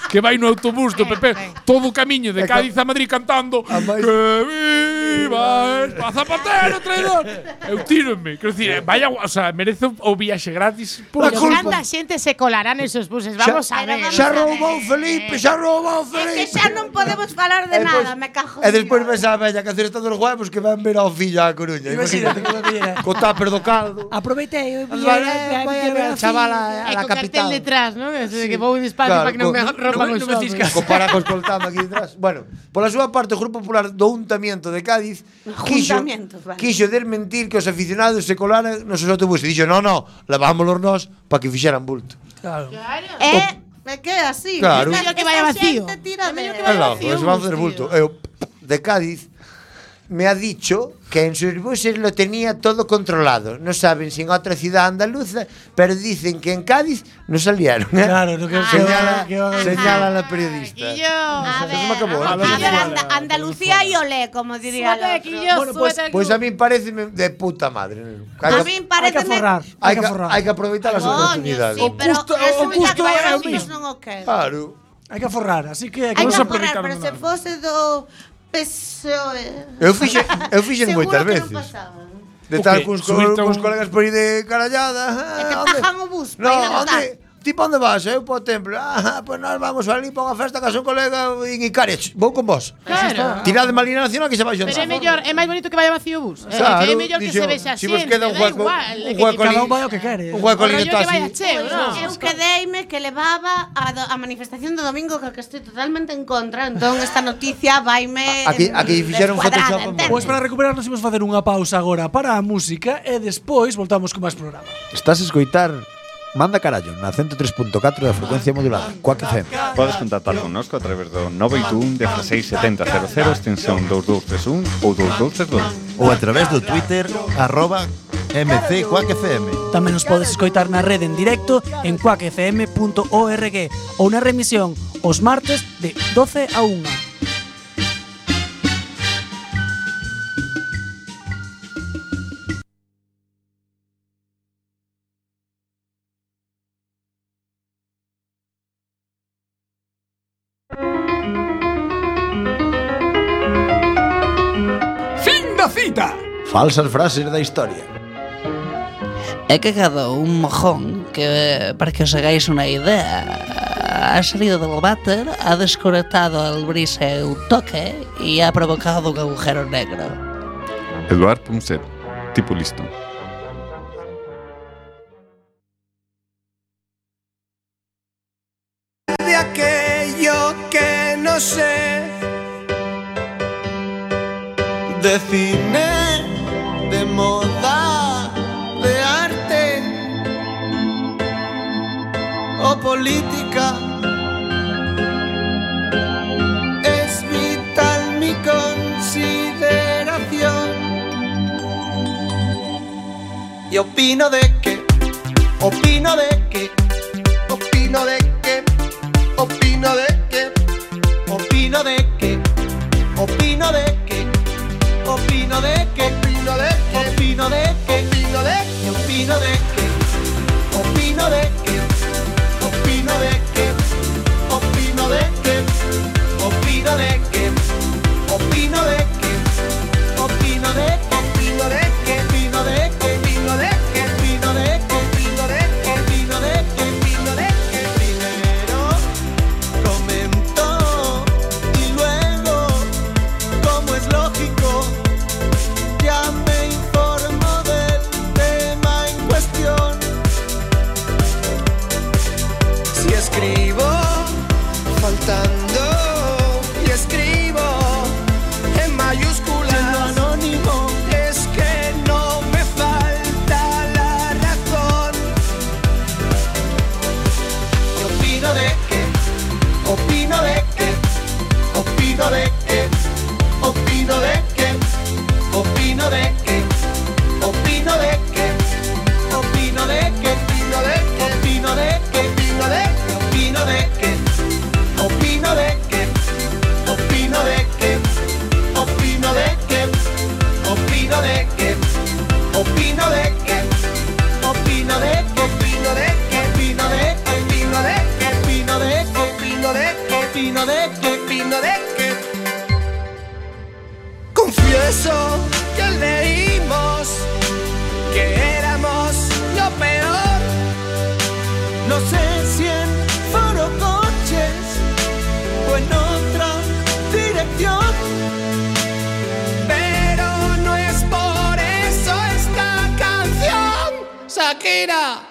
Speaker 12: que vai no autobús do PP todo o camiño de Cádiz a Madrid cantando
Speaker 10: máis-
Speaker 12: que viva España, Zapatero, traidor. Eu tíronme, quero dicir, eh, vaya, o sea, merece o- o viaxe gratis. Por
Speaker 10: La
Speaker 14: Pero
Speaker 10: culpa.
Speaker 14: Canta xente Pues se colará nesos buses, vamos a
Speaker 13: Pero
Speaker 14: ver.
Speaker 13: vamos
Speaker 10: xa
Speaker 13: a ver.
Speaker 10: roubou Felipe, xa roubou
Speaker 13: É que
Speaker 10: Felipe.
Speaker 13: xa non podemos falar de
Speaker 10: E depois-
Speaker 13: nada, me cajo.
Speaker 10: E despois
Speaker 13: en Dios.
Speaker 10: ves a bella que hacer todos os huevos que van ver ao fillo á Coruña.
Speaker 11: Imagínate
Speaker 10: Imagínate,
Speaker 11: como que era.
Speaker 10: co táper do caldo.
Speaker 11: Aproveitei, eu
Speaker 10: Vai, vai, vai a ver a chavala a
Speaker 14: E
Speaker 10: la
Speaker 14: co cartel
Speaker 10: capital.
Speaker 14: detrás, non? Ese de que vou despacio
Speaker 10: Claro,
Speaker 14: para que non
Speaker 10: co-
Speaker 14: me
Speaker 10: non-
Speaker 14: rompan
Speaker 11: non
Speaker 14: os
Speaker 11: me
Speaker 14: ovos.
Speaker 11: ciscas.
Speaker 10: Co paraco escoltando aquí detrás. Bueno, pola súa parte, o Grupo Popular do Untamiento de Cádiz quixo,
Speaker 13: Juntamientos, vale.
Speaker 10: quixo desmentir que os aficionados se colaran nos seus autobuses. Dixo, no, no, levámoslos nós para que fixeran bulto.
Speaker 11: Claro.
Speaker 13: Eh, me queda así.
Speaker 10: Claro.
Speaker 13: Esta-
Speaker 14: É mellor que vaya
Speaker 13: esta
Speaker 14: vacío.
Speaker 13: xente tira
Speaker 14: É mellor
Speaker 13: de-
Speaker 14: que
Speaker 10: É
Speaker 14: vaya
Speaker 10: loco,
Speaker 14: vacío,
Speaker 10: se van facer
Speaker 14: tío.
Speaker 10: bulto. Eu, de Cádiz, me ha dicho que en sus buses lo tenía todo controlado. No saben si en otra ciudad andaluza, pero dicen que en Cádiz no salieron. ¿eh?
Speaker 11: Claro, lo que-
Speaker 10: señala,
Speaker 11: que van a-
Speaker 10: señala la periodista.
Speaker 13: Quillo. A ver,
Speaker 10: me acabó,
Speaker 13: a
Speaker 10: no me
Speaker 13: ver,
Speaker 10: acabó.
Speaker 13: Anda- Andalucía y olé, como diría el
Speaker 14: Súbete,
Speaker 13: otro.
Speaker 14: Quillo, Bueno, pues- súbete al
Speaker 10: Pues a mí parece de puta madre. Hay
Speaker 13: A
Speaker 10: que-
Speaker 13: min parece
Speaker 10: Hay que, hay que aproveitar as
Speaker 13: Coño,
Speaker 10: oportunidades.
Speaker 13: sí, pero
Speaker 11: Justo-
Speaker 13: resulta que
Speaker 11: justo
Speaker 13: vai
Speaker 11: é o
Speaker 13: aos fillos
Speaker 11: mismo.
Speaker 13: non o quero.
Speaker 10: Claro.
Speaker 11: Hai que aforrar, así que hai que
Speaker 13: Hai
Speaker 11: vamos
Speaker 13: que
Speaker 11: a
Speaker 13: aforrar,
Speaker 11: aplicar
Speaker 13: pero
Speaker 11: un
Speaker 13: se
Speaker 11: ano.
Speaker 13: fose do PSOE...
Speaker 10: Eu fixe, eu fixe
Speaker 13: Seguro
Speaker 10: moitas
Speaker 13: que non
Speaker 10: veces.
Speaker 13: pasaba.
Speaker 10: De
Speaker 12: O
Speaker 10: estar
Speaker 12: que,
Speaker 10: cuns,
Speaker 12: subirte a
Speaker 10: cuns
Speaker 12: un-
Speaker 10: colegas por aí de carallada.
Speaker 13: E te
Speaker 10: Ah, onde?
Speaker 13: tajan o bus,
Speaker 10: No,
Speaker 13: pa ir a votar.
Speaker 10: onde? Tipo, onde vas? eh? Eu po templo. Ah, pues nós vamos ali pa unha festa que son colega en Icarech. Vou con vos.
Speaker 14: Claro.
Speaker 10: Tirade malina nacional que se vai
Speaker 14: Pero é
Speaker 10: xuntar.
Speaker 14: mellor, é máis bonito que vaya vacío o bus.
Speaker 10: Claro,
Speaker 14: é que é mellor que
Speaker 10: dixo,
Speaker 14: se vexa
Speaker 10: si
Speaker 14: xente,
Speaker 10: vos queda un
Speaker 14: da
Speaker 10: hueco-
Speaker 14: igual.
Speaker 10: un
Speaker 14: é que
Speaker 10: hueco
Speaker 14: tipo-
Speaker 11: o
Speaker 10: ali-
Speaker 11: que quere.
Speaker 10: Un hueco
Speaker 14: O
Speaker 10: ali
Speaker 14: rollo
Speaker 10: no
Speaker 14: que
Speaker 10: taxi.
Speaker 14: vaya cheo, non?
Speaker 13: Eu quedeime que levaba a, do, a manifestación do domingo que, que estoy totalmente en contra, entón esta noticia vaime
Speaker 10: Aquí- aquí fixeron Photoshop en
Speaker 11: Pois para recuperarnos imos facer unha pausa agora para a música e despois voltamos con máis programa.
Speaker 15: Estás a escoitar Manda Carallo na 103.4 da frecuencia modulada Coac FM
Speaker 7: Podes contactar connosco a través do 921 167000 extensión 2231 ou 2232.
Speaker 16: Ou a través do Twitter arroba mcquackfm.
Speaker 17: Tamén nos podes escoitar na rede en directo en cuacfm.org ou na remisión os martes de 12 a 1.
Speaker 5: Fin da cita.
Speaker 15: Falsas frases da historia
Speaker 18: He cagado un mojón que, para que os hagáis una idea, ha salido del váter, ha desconectado el brise un toque y ha provocado un agujero negro.
Speaker 7: Eduard Punset, tipo listo.
Speaker 5: de aquello que no sé. De cine, de moda, de arte o política. Es vital mi consideración. Y opino de que, opino de que, opino de que. Opino de que, opino de que, opino de que, opino de que, opino de que, opino de que, opino de que, opino de que, opino de que, opino de que, opino de que, opino de que, opino de que, opino de que, opino de que, opino de que, opino de que, opino de que, opino de que, opino de que, opino de que, primero comentó y luego, como es lógico, ya me informo del tema en cuestión. Si escribo faltando y escribo en mayúsculas en lo anónimo, es que no me falta la razón. Yo opino de que opino de que, opino de que, opino de que, opino de que, opino de que, opino de que, opino de que, opino de que, opino de que, opino de que, opino de que, opino de que, opino de que, opino de que, opino de que, opino de que, opino de que, opino de que, opino de que, opino de que, opino de que, opino de que, opino de que. Confieso que leímos que éramos lo peor. Oh. No sé si en foro coches o en otra dirección. Pero no es por eso esta canción, Shakira.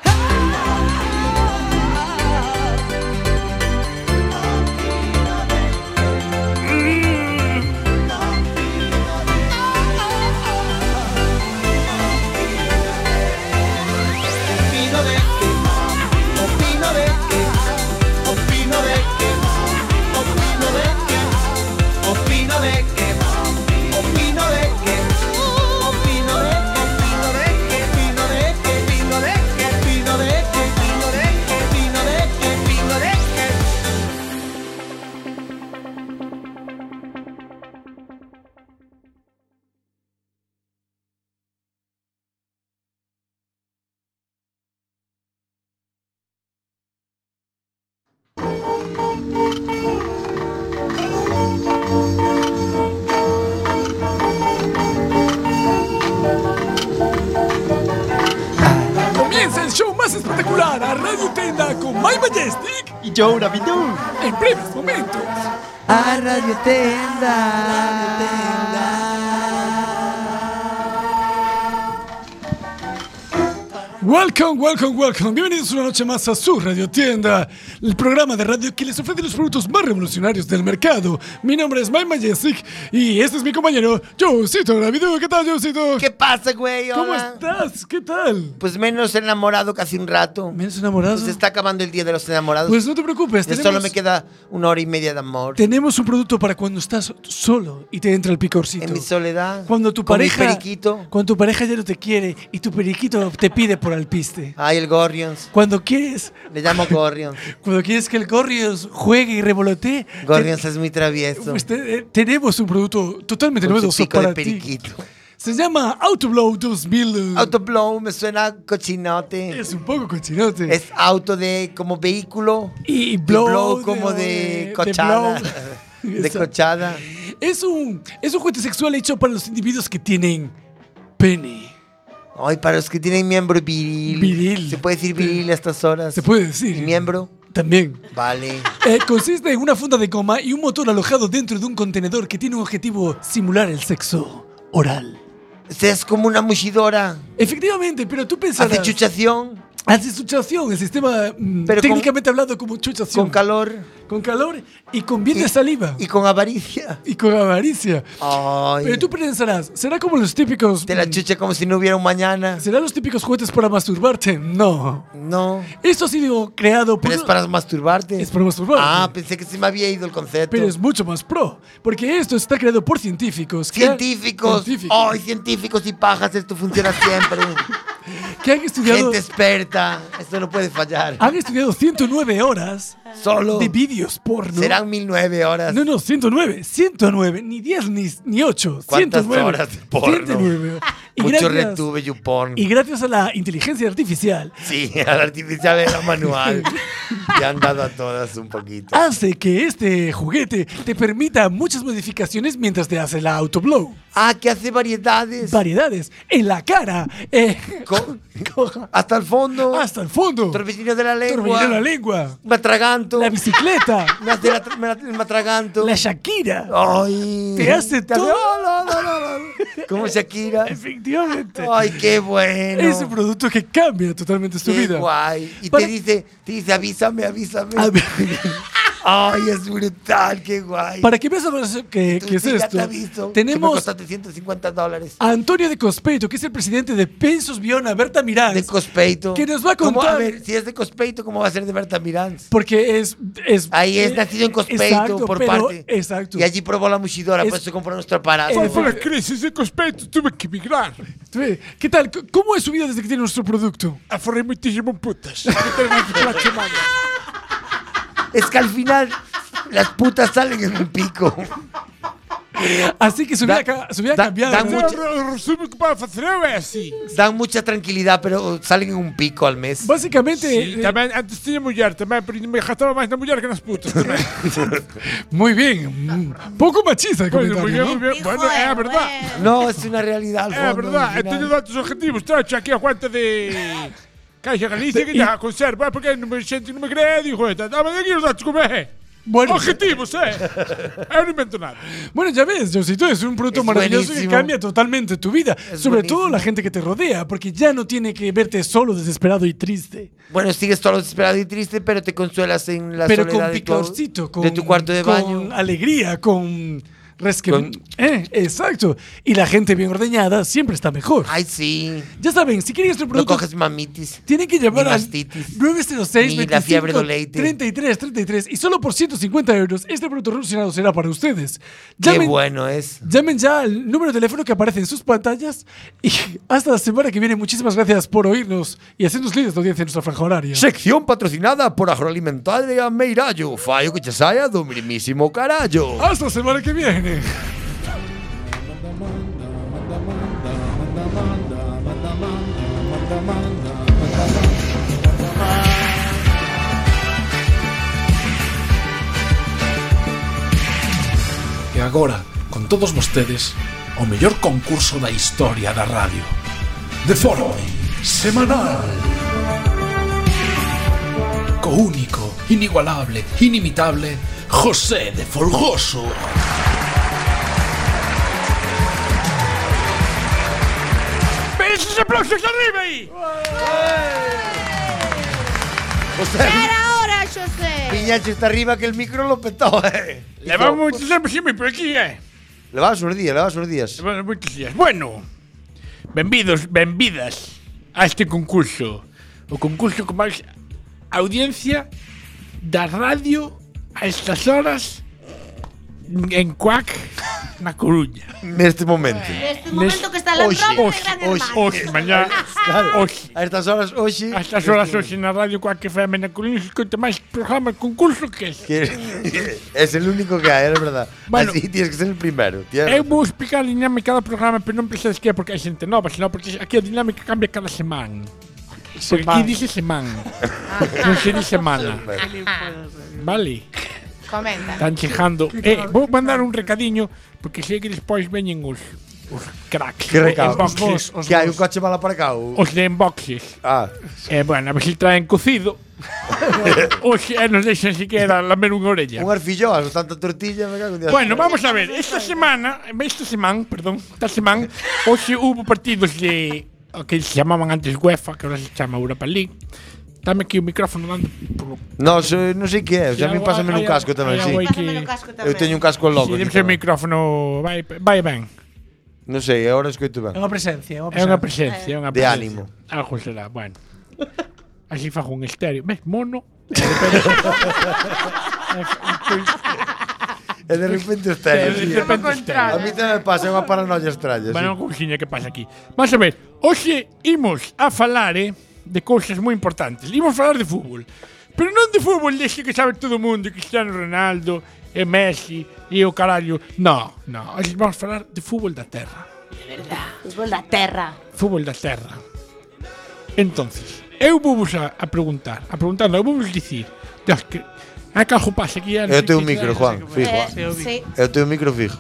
Speaker 5: Opino de que, opino de que, opino de que, opino de que, opino de que, opino de que,
Speaker 19: más espectacular a Radio Tenda con My Majestic y Joe Navidou en breves momentos.
Speaker 5: A Radio Tenda.
Speaker 19: Welcome, welcome, welcome. Bienvenidos una noche más a su Radio Tienda, el programa de radio que les ofrece los productos más revolucionarios del mercado. Mi nombre es Mike Majestic y este es mi compañero, Joecito Navidú. ¿Qué tal, Joecito?
Speaker 10: ¿Qué pasa, güey?
Speaker 19: ¿Cómo estás? ¿Qué tal?
Speaker 10: Pues menos enamorado que hace un rato.
Speaker 19: ¿Menos enamorado?
Speaker 10: se está acabando el día de los enamorados.
Speaker 19: Pues no te preocupes,
Speaker 10: Ya
Speaker 19: tenemos-
Speaker 10: solo me queda una hora y media de amor.
Speaker 19: Tenemos un producto para cuando estás solo y te entra el picorcito.
Speaker 10: En mi soledad.
Speaker 19: Cuando tu
Speaker 10: con mi
Speaker 19: pareja,
Speaker 10: periquito.
Speaker 19: cuando tu pareja ya no te quiere y tu periquito te pide por alpiste.
Speaker 10: Ay, el Gorrions.
Speaker 19: Cuando quieres.
Speaker 10: Ah, Le llamo Gorrions.
Speaker 19: Cuando quieres que el Gorrions juegue y revolotee.
Speaker 10: Gorrions es muy travieso.
Speaker 19: Pues te- eh, tenemos un producto totalmente
Speaker 10: Con su
Speaker 19: novedoso
Speaker 10: pico de
Speaker 19: para ti.
Speaker 10: periquito.
Speaker 19: Se llama Autoblow 2000.
Speaker 10: Autoblow me suena cochinote.
Speaker 19: Es un poco cochinote.
Speaker 10: Es auto de como vehículo.
Speaker 19: Y
Speaker 10: blow,
Speaker 19: blow
Speaker 10: como
Speaker 19: de-
Speaker 10: de,
Speaker 19: de
Speaker 10: cochada.
Speaker 19: blow.
Speaker 10: De, cochada.
Speaker 19: Es un, es un juguete sexual hecho para los individuos que tienen pene.
Speaker 10: Ay, para los que tienen miembro viril.
Speaker 19: Viril.
Speaker 10: Se puede decir viril a estas horas. Se
Speaker 19: puede decir.
Speaker 10: ¿Y miembro?
Speaker 19: También.
Speaker 10: Vale.
Speaker 19: Eh, consiste en una funda de goma y un motor alojado dentro de un contenedor que tiene un objetivo simular el sexo oral.
Speaker 10: es como una mushidora.
Speaker 19: Efectivamente, pero tú pensarás...
Speaker 10: Hace chuchación.
Speaker 19: Hace chuchación, el sistema mm,
Speaker 10: Pero con-
Speaker 19: técnicamente hablando como chuchación.
Speaker 10: Con calor.
Speaker 19: Con calor y con bien de saliva.
Speaker 10: Y con avaricia.
Speaker 19: Y con avaricia.
Speaker 10: Ay.
Speaker 19: Pero tú pensarás, ¿será como los típicos... mm,
Speaker 10: Te la chucha como si no hubiera un mañana.
Speaker 19: ¿Serán los típicos juguetes para masturbarte? No.
Speaker 10: No.
Speaker 19: Esto ha sido creado por...
Speaker 10: Pero es para masturbarte.
Speaker 19: Es para masturbarte.
Speaker 10: Ah, pensé que se me había ido el concepto.
Speaker 19: Pero es mucho más pro, porque esto está creado por científicos. que-
Speaker 10: Científicos.
Speaker 19: científicos
Speaker 10: Ay, científicos y pajas, esto funciona siempre.
Speaker 19: que han estudiado, Ah,
Speaker 10: Gente experta. Esto no puede fallar.
Speaker 19: han estudiado 109 horas
Speaker 10: Solo.
Speaker 19: de vídeos porno.
Speaker 10: Serán 1009 horas.
Speaker 19: No, no, 109, 109, ni 10 ni, ni 8.
Speaker 10: ¿Cuántas
Speaker 19: 109,
Speaker 10: horas de porno?
Speaker 19: 109. Y
Speaker 10: Mucho
Speaker 19: gracias-
Speaker 10: retuve y un porno.
Speaker 19: Y gracias a la inteligencia artificial,
Speaker 10: Sí, al artificial era manual. Te han dado a todas un poquito.
Speaker 19: hace que este juguete te permita muchas modificaciones mientras te hace la autoblow.
Speaker 10: Ah, que hace variedades.
Speaker 19: Variedades. En la cara. eh,
Speaker 10: Hasta el fondo.
Speaker 19: Hasta el fondo.
Speaker 10: Torbellino de la lengua.
Speaker 19: Torbellino de la lengua.
Speaker 10: Me atraganto.
Speaker 19: La bicicleta.
Speaker 10: Me, hace la tra- me la- me atraganto.
Speaker 19: La Shakira.
Speaker 10: Ay.
Speaker 19: Te hace todo.
Speaker 10: "Oh, no, no, no, no". Como Shakira.
Speaker 19: Efectivamente.
Speaker 10: Ay, qué bueno.
Speaker 19: Es un producto que cambia totalmente tu
Speaker 10: qué
Speaker 19: vida.
Speaker 10: guay. Y
Speaker 19: Para-
Speaker 10: te dice, te dice, avísame, avísame. Ay, es brutal, qué guay.
Speaker 19: Para que veas a los- que,
Speaker 10: Tú
Speaker 19: que es
Speaker 10: sí, ya
Speaker 19: esto,
Speaker 10: te aviso, Que me
Speaker 19: tenemos
Speaker 10: costaste 150 dólares.
Speaker 19: a Antonio de Cospeito, que es el presidente de Pensos Viona, Berta Mirán. De
Speaker 10: Cospeito.
Speaker 19: Que nos va a
Speaker 10: ¿Cómo?
Speaker 19: contar.
Speaker 10: A ver, si es de Cospeito, ¿cómo va a ser de Berta Mirán?
Speaker 19: Porque es. es
Speaker 10: Ahí es
Speaker 19: eh,
Speaker 10: nacido en Cospeito,
Speaker 19: exacto,
Speaker 10: por
Speaker 19: pero-
Speaker 10: parte.
Speaker 19: Exacto.
Speaker 10: Y allí probó la mushidora,
Speaker 19: Es-
Speaker 10: por eso compró nuestro aparato.
Speaker 12: Cuando fue la crisis de Cospeito tuve que emigrar.
Speaker 19: Tuve- ¿Qué tal? C- ¿Cómo es su vida desde que tiene nuestro producto?
Speaker 12: Aforré muchísimo en putas. Que tengo aquí toda la semana.
Speaker 10: Es que al final las putas salen en un pico.
Speaker 19: Así que su vida, ca- su vida ha cambiado.
Speaker 10: Dan,
Speaker 12: Yo
Speaker 10: mucha,
Speaker 12: re- resumo que para hacer é así.
Speaker 10: dan mucha tranquilidad, pero salen en un pico al mes.
Speaker 19: Básicamente.
Speaker 12: Sí,
Speaker 19: eh,
Speaker 12: tamén, antes tiña muller tamén, pero me gastaba máis na muller que nas putas tamén.
Speaker 19: muy bien. mm, Poco machista el
Speaker 12: Bueno, muy bien,
Speaker 19: comentario, ¿no?
Speaker 12: muy bien. Bueno, é a verdad.
Speaker 10: No, es una realidad. al
Speaker 12: É a
Speaker 10: fondo,
Speaker 12: verdad.
Speaker 10: al
Speaker 12: E
Speaker 10: final.
Speaker 12: teño datos objetivos, tracho aquí a cuenta de... Caixa Galicia que ya conserva, eh, porque non me xente non me cree, digo, dame aquí os datos como é.
Speaker 19: Bueno.
Speaker 12: Objetivos, eh. Eu non invento nada.
Speaker 19: Bueno, ya ves, Josito, es un producto
Speaker 12: Es
Speaker 19: maravilloso
Speaker 12: buenísimo.
Speaker 19: que cambia totalmente tu vida.
Speaker 10: Es
Speaker 19: sobre
Speaker 10: buenísimo.
Speaker 19: todo la gente que te rodea, porque ya no tiene que verte solo, desesperado y triste.
Speaker 10: Bueno, sigues todo lo desesperado y triste, pero te consuelas en la
Speaker 19: pero
Speaker 10: soledad
Speaker 19: con
Speaker 10: de, tu,
Speaker 19: picorcito, con,
Speaker 10: de tu cuarto de
Speaker 19: con
Speaker 10: baño.
Speaker 19: alegría, con resque. Eh, exacto. Y la gente bien ordeñada siempre está mejor.
Speaker 10: Ay, sí.
Speaker 19: Ya saben, si quieren este
Speaker 10: No
Speaker 19: producto,
Speaker 10: coges mamitis.
Speaker 19: tienen que llamar
Speaker 10: ni
Speaker 19: al
Speaker 10: mastitis.
Speaker 19: 906
Speaker 10: Ni la fiebre
Speaker 19: 25
Speaker 10: de Leite.
Speaker 19: 33 33 y solo por 150 euros este producto revolucionado será para ustedes.
Speaker 10: Qué
Speaker 19: Llamen-
Speaker 10: bueno eh. es.
Speaker 19: Llamen ya al número de teléfono que aparece en sus pantallas y hasta la semana que viene. Muchísimas gracias por oírnos y hacernos líderes de audiencia en nuestra franja horaria.
Speaker 10: Sección patrocinada por Agroalimentaria Meirallo. Fallo que te saya do mismísimo carallo.
Speaker 19: Hasta la semana que viene.
Speaker 20: E agora, con todos vostedes, o mellor concurso da historia da radio. Deforme, semanal.
Speaker 21: auténtico, único, inigualable, inimitable, José de Folgoso.
Speaker 12: ¡Pero esos aplausos arriba ahí!
Speaker 13: ¡Cara ahora, José!
Speaker 10: Piñacho está arriba que el micro lo petó, eh.
Speaker 12: Le va mucho tiempo siempre por aquí, eh.
Speaker 10: Le va unos días, le va unos días.
Speaker 12: Le van muchos días. Bueno, benvidos, benvidas a este concurso. O concurso con máis audiencia da radio a estas horas en Cuac, na Coruña.
Speaker 10: Neste momento.
Speaker 13: Este momento que está la
Speaker 12: Hoxe,
Speaker 13: broma de
Speaker 12: hoxe,
Speaker 13: Gran
Speaker 12: hoxe, hoxe,
Speaker 13: Hermano.
Speaker 12: mañá, hoxe.
Speaker 10: A estas horas hoxe.
Speaker 12: A estas horas hoxe na radio Cuac FM na Coruña se escoita máis programa concurso que este.
Speaker 10: Que es el único que hay, es verdad.
Speaker 12: Bueno.
Speaker 10: Así tienes que ser el primero.
Speaker 12: Eu
Speaker 10: tienes-
Speaker 12: vou explicar a dinámica do programa, pero non pensades que é porque hai xente nova, senón porque aquí a dinámica cambia cada semana. Porque aquí
Speaker 14: Semana.
Speaker 12: dice semana. non se dice semana. Vale.
Speaker 14: Comenta.
Speaker 12: Están chejando. Eh, vou mandar un recadiño porque sei que despois veñen os, os cracks.
Speaker 10: Que recado?
Speaker 12: Os boxes.
Speaker 10: Os vos, os Que hai un coche bala para cá. ou-
Speaker 12: Os de inboxes.
Speaker 10: Ah.
Speaker 12: Eh, bueno, a ver se traen cocido. Os que nos deixan siquiera lamer unha orella.
Speaker 10: Unhas filloas, ou tanta tortilla, me cago en Dios.
Speaker 12: Bueno, vamos a ver. Esta semana, esta semana, perdón, esta semana, hoxe hubo partidos de o que se llamaban antes UEFA, que ahora se chama Europa League. Dame aquí o micrófono dando por
Speaker 10: No, so, eh, non sei que é, xa me pásame un casco tamén, sí. Eu teño un casco logo.
Speaker 12: Sí, debe
Speaker 10: aquí
Speaker 12: ser o
Speaker 10: tamén.
Speaker 12: micrófono vai, vai ben.
Speaker 10: Non sei, agora escoito ben. Eh,
Speaker 12: unha presencia, é
Speaker 10: unha
Speaker 12: unha
Speaker 10: presencia.
Speaker 12: presencia, é unha
Speaker 10: De
Speaker 12: presencia.
Speaker 10: ánimo.
Speaker 12: Algo será, bueno. Así fajo un estéreo. Ves, mono.
Speaker 10: E de repente os tenes.
Speaker 12: De
Speaker 10: sí.
Speaker 12: repente os tenes.
Speaker 10: A mí tamén me pasa é unha paranoia extraña.
Speaker 12: Bueno,
Speaker 10: sí.
Speaker 12: cousiña que pasa aquí. Vamos a ver, hoxe imos a falar eh, de cousas moi importantes. Imos falar de fútbol. Pero non de fútbol deste que sabe todo o mundo, Cristiano Ronaldo, e Messi, e o carallo. No, no, hoxe vamos falar de fútbol da terra.
Speaker 13: Fútbol da terra.
Speaker 12: Fútbol da terra. Entonces, eu vou vos a, a preguntar, a preguntar, non, eu vou vos dicir, Dios, que, a cajo pasa aquí.
Speaker 10: Eu teño un micro, Juan, fijo. ah.
Speaker 13: Eh, sí.
Speaker 10: Eu teño un micro fijo.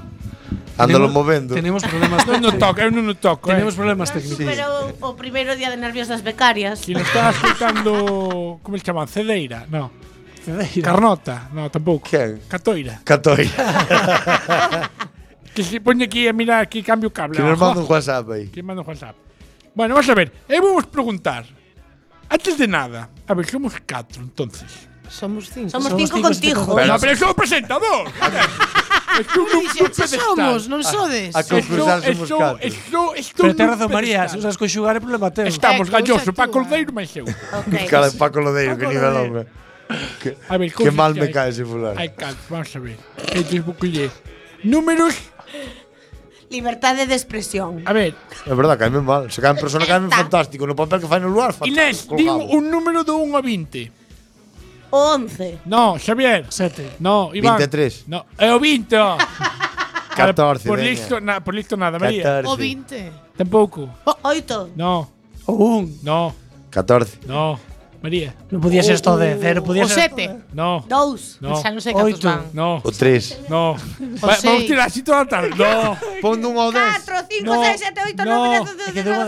Speaker 10: Ándalo
Speaker 12: Tenemos-
Speaker 10: movendo.
Speaker 12: tenemos problemas
Speaker 10: Non
Speaker 12: técnicos. toco, eu non o toco. eh.
Speaker 10: Tenemos
Speaker 12: problemas
Speaker 13: Pero o primeiro día de nervios das becarias.
Speaker 12: Si nos está escuchando, ¿cómo se llama? Cedeira, no. Carnota, no, tampoco. Catoira.
Speaker 10: Catoira.
Speaker 12: que se pone aquí a mirar aquí cambio cable.
Speaker 10: Que nos
Speaker 12: abajo.
Speaker 10: manda un WhatsApp aí.
Speaker 12: Que manda un WhatsApp. Bueno, vamos a ver. Eh, vamos a preguntar. Antes de nada, a ver, somos cuatro entonces.
Speaker 14: Somos cinco.
Speaker 13: Somos Somos cinco cinco, contigo. este
Speaker 12: Pero, no, pero somos presentador. Es que un
Speaker 14: Dixeche, "Pues somos, non sodes. A concursar somos catro.
Speaker 12: Esto, esto,
Speaker 17: Pero ten razón, María, se usas conxugar é problema teu.
Speaker 12: Estamos galloso, Paco Aldeiro máis eu.
Speaker 10: Cara de Paco Lodeiro, que nivel
Speaker 12: Lodeiro.
Speaker 10: hombre. Que,
Speaker 12: A ver,
Speaker 10: que
Speaker 12: cousas
Speaker 10: mal
Speaker 12: que hai.
Speaker 10: me cae ese fulano.
Speaker 12: Hai cal, vamos a ver. Entonces busquille. Números,
Speaker 13: Libertade de expresión.
Speaker 12: a ver,
Speaker 10: É verdade, caeme mal. Se cae en persona, caeme fantástico. No papel que fai no lugar,
Speaker 12: Inés,
Speaker 10: fantástico.
Speaker 12: digo un número de 1 a 20.
Speaker 13: 11.
Speaker 12: No, Xavier. 7. No, Iván.
Speaker 10: 23.
Speaker 12: No, é o 20. ó. Cara,
Speaker 10: 14,
Speaker 12: Por
Speaker 10: veña.
Speaker 12: listo, na, por listo nada, María.
Speaker 10: 14.
Speaker 14: O 20.
Speaker 12: Tampouco.
Speaker 13: 8.
Speaker 12: No.
Speaker 17: O un.
Speaker 12: No,
Speaker 10: 14.
Speaker 12: no. María.
Speaker 17: Non podía ser esto de cero, podía
Speaker 14: O
Speaker 17: ser esto
Speaker 14: sete. Pues
Speaker 12: No.
Speaker 13: Dous.
Speaker 12: No.
Speaker 14: Xa non sei cantos
Speaker 12: Oito.
Speaker 14: van.
Speaker 12: No.
Speaker 10: O 3.
Speaker 12: No.
Speaker 14: O
Speaker 12: Va, vamos
Speaker 14: seis.
Speaker 12: tirar así toda a tarde. No.
Speaker 10: Pondo un ao 10.
Speaker 13: 4, 5,
Speaker 12: No,
Speaker 13: 6, 7, 8, 9,
Speaker 12: no. É
Speaker 13: 10, 11, 12,
Speaker 12: que deu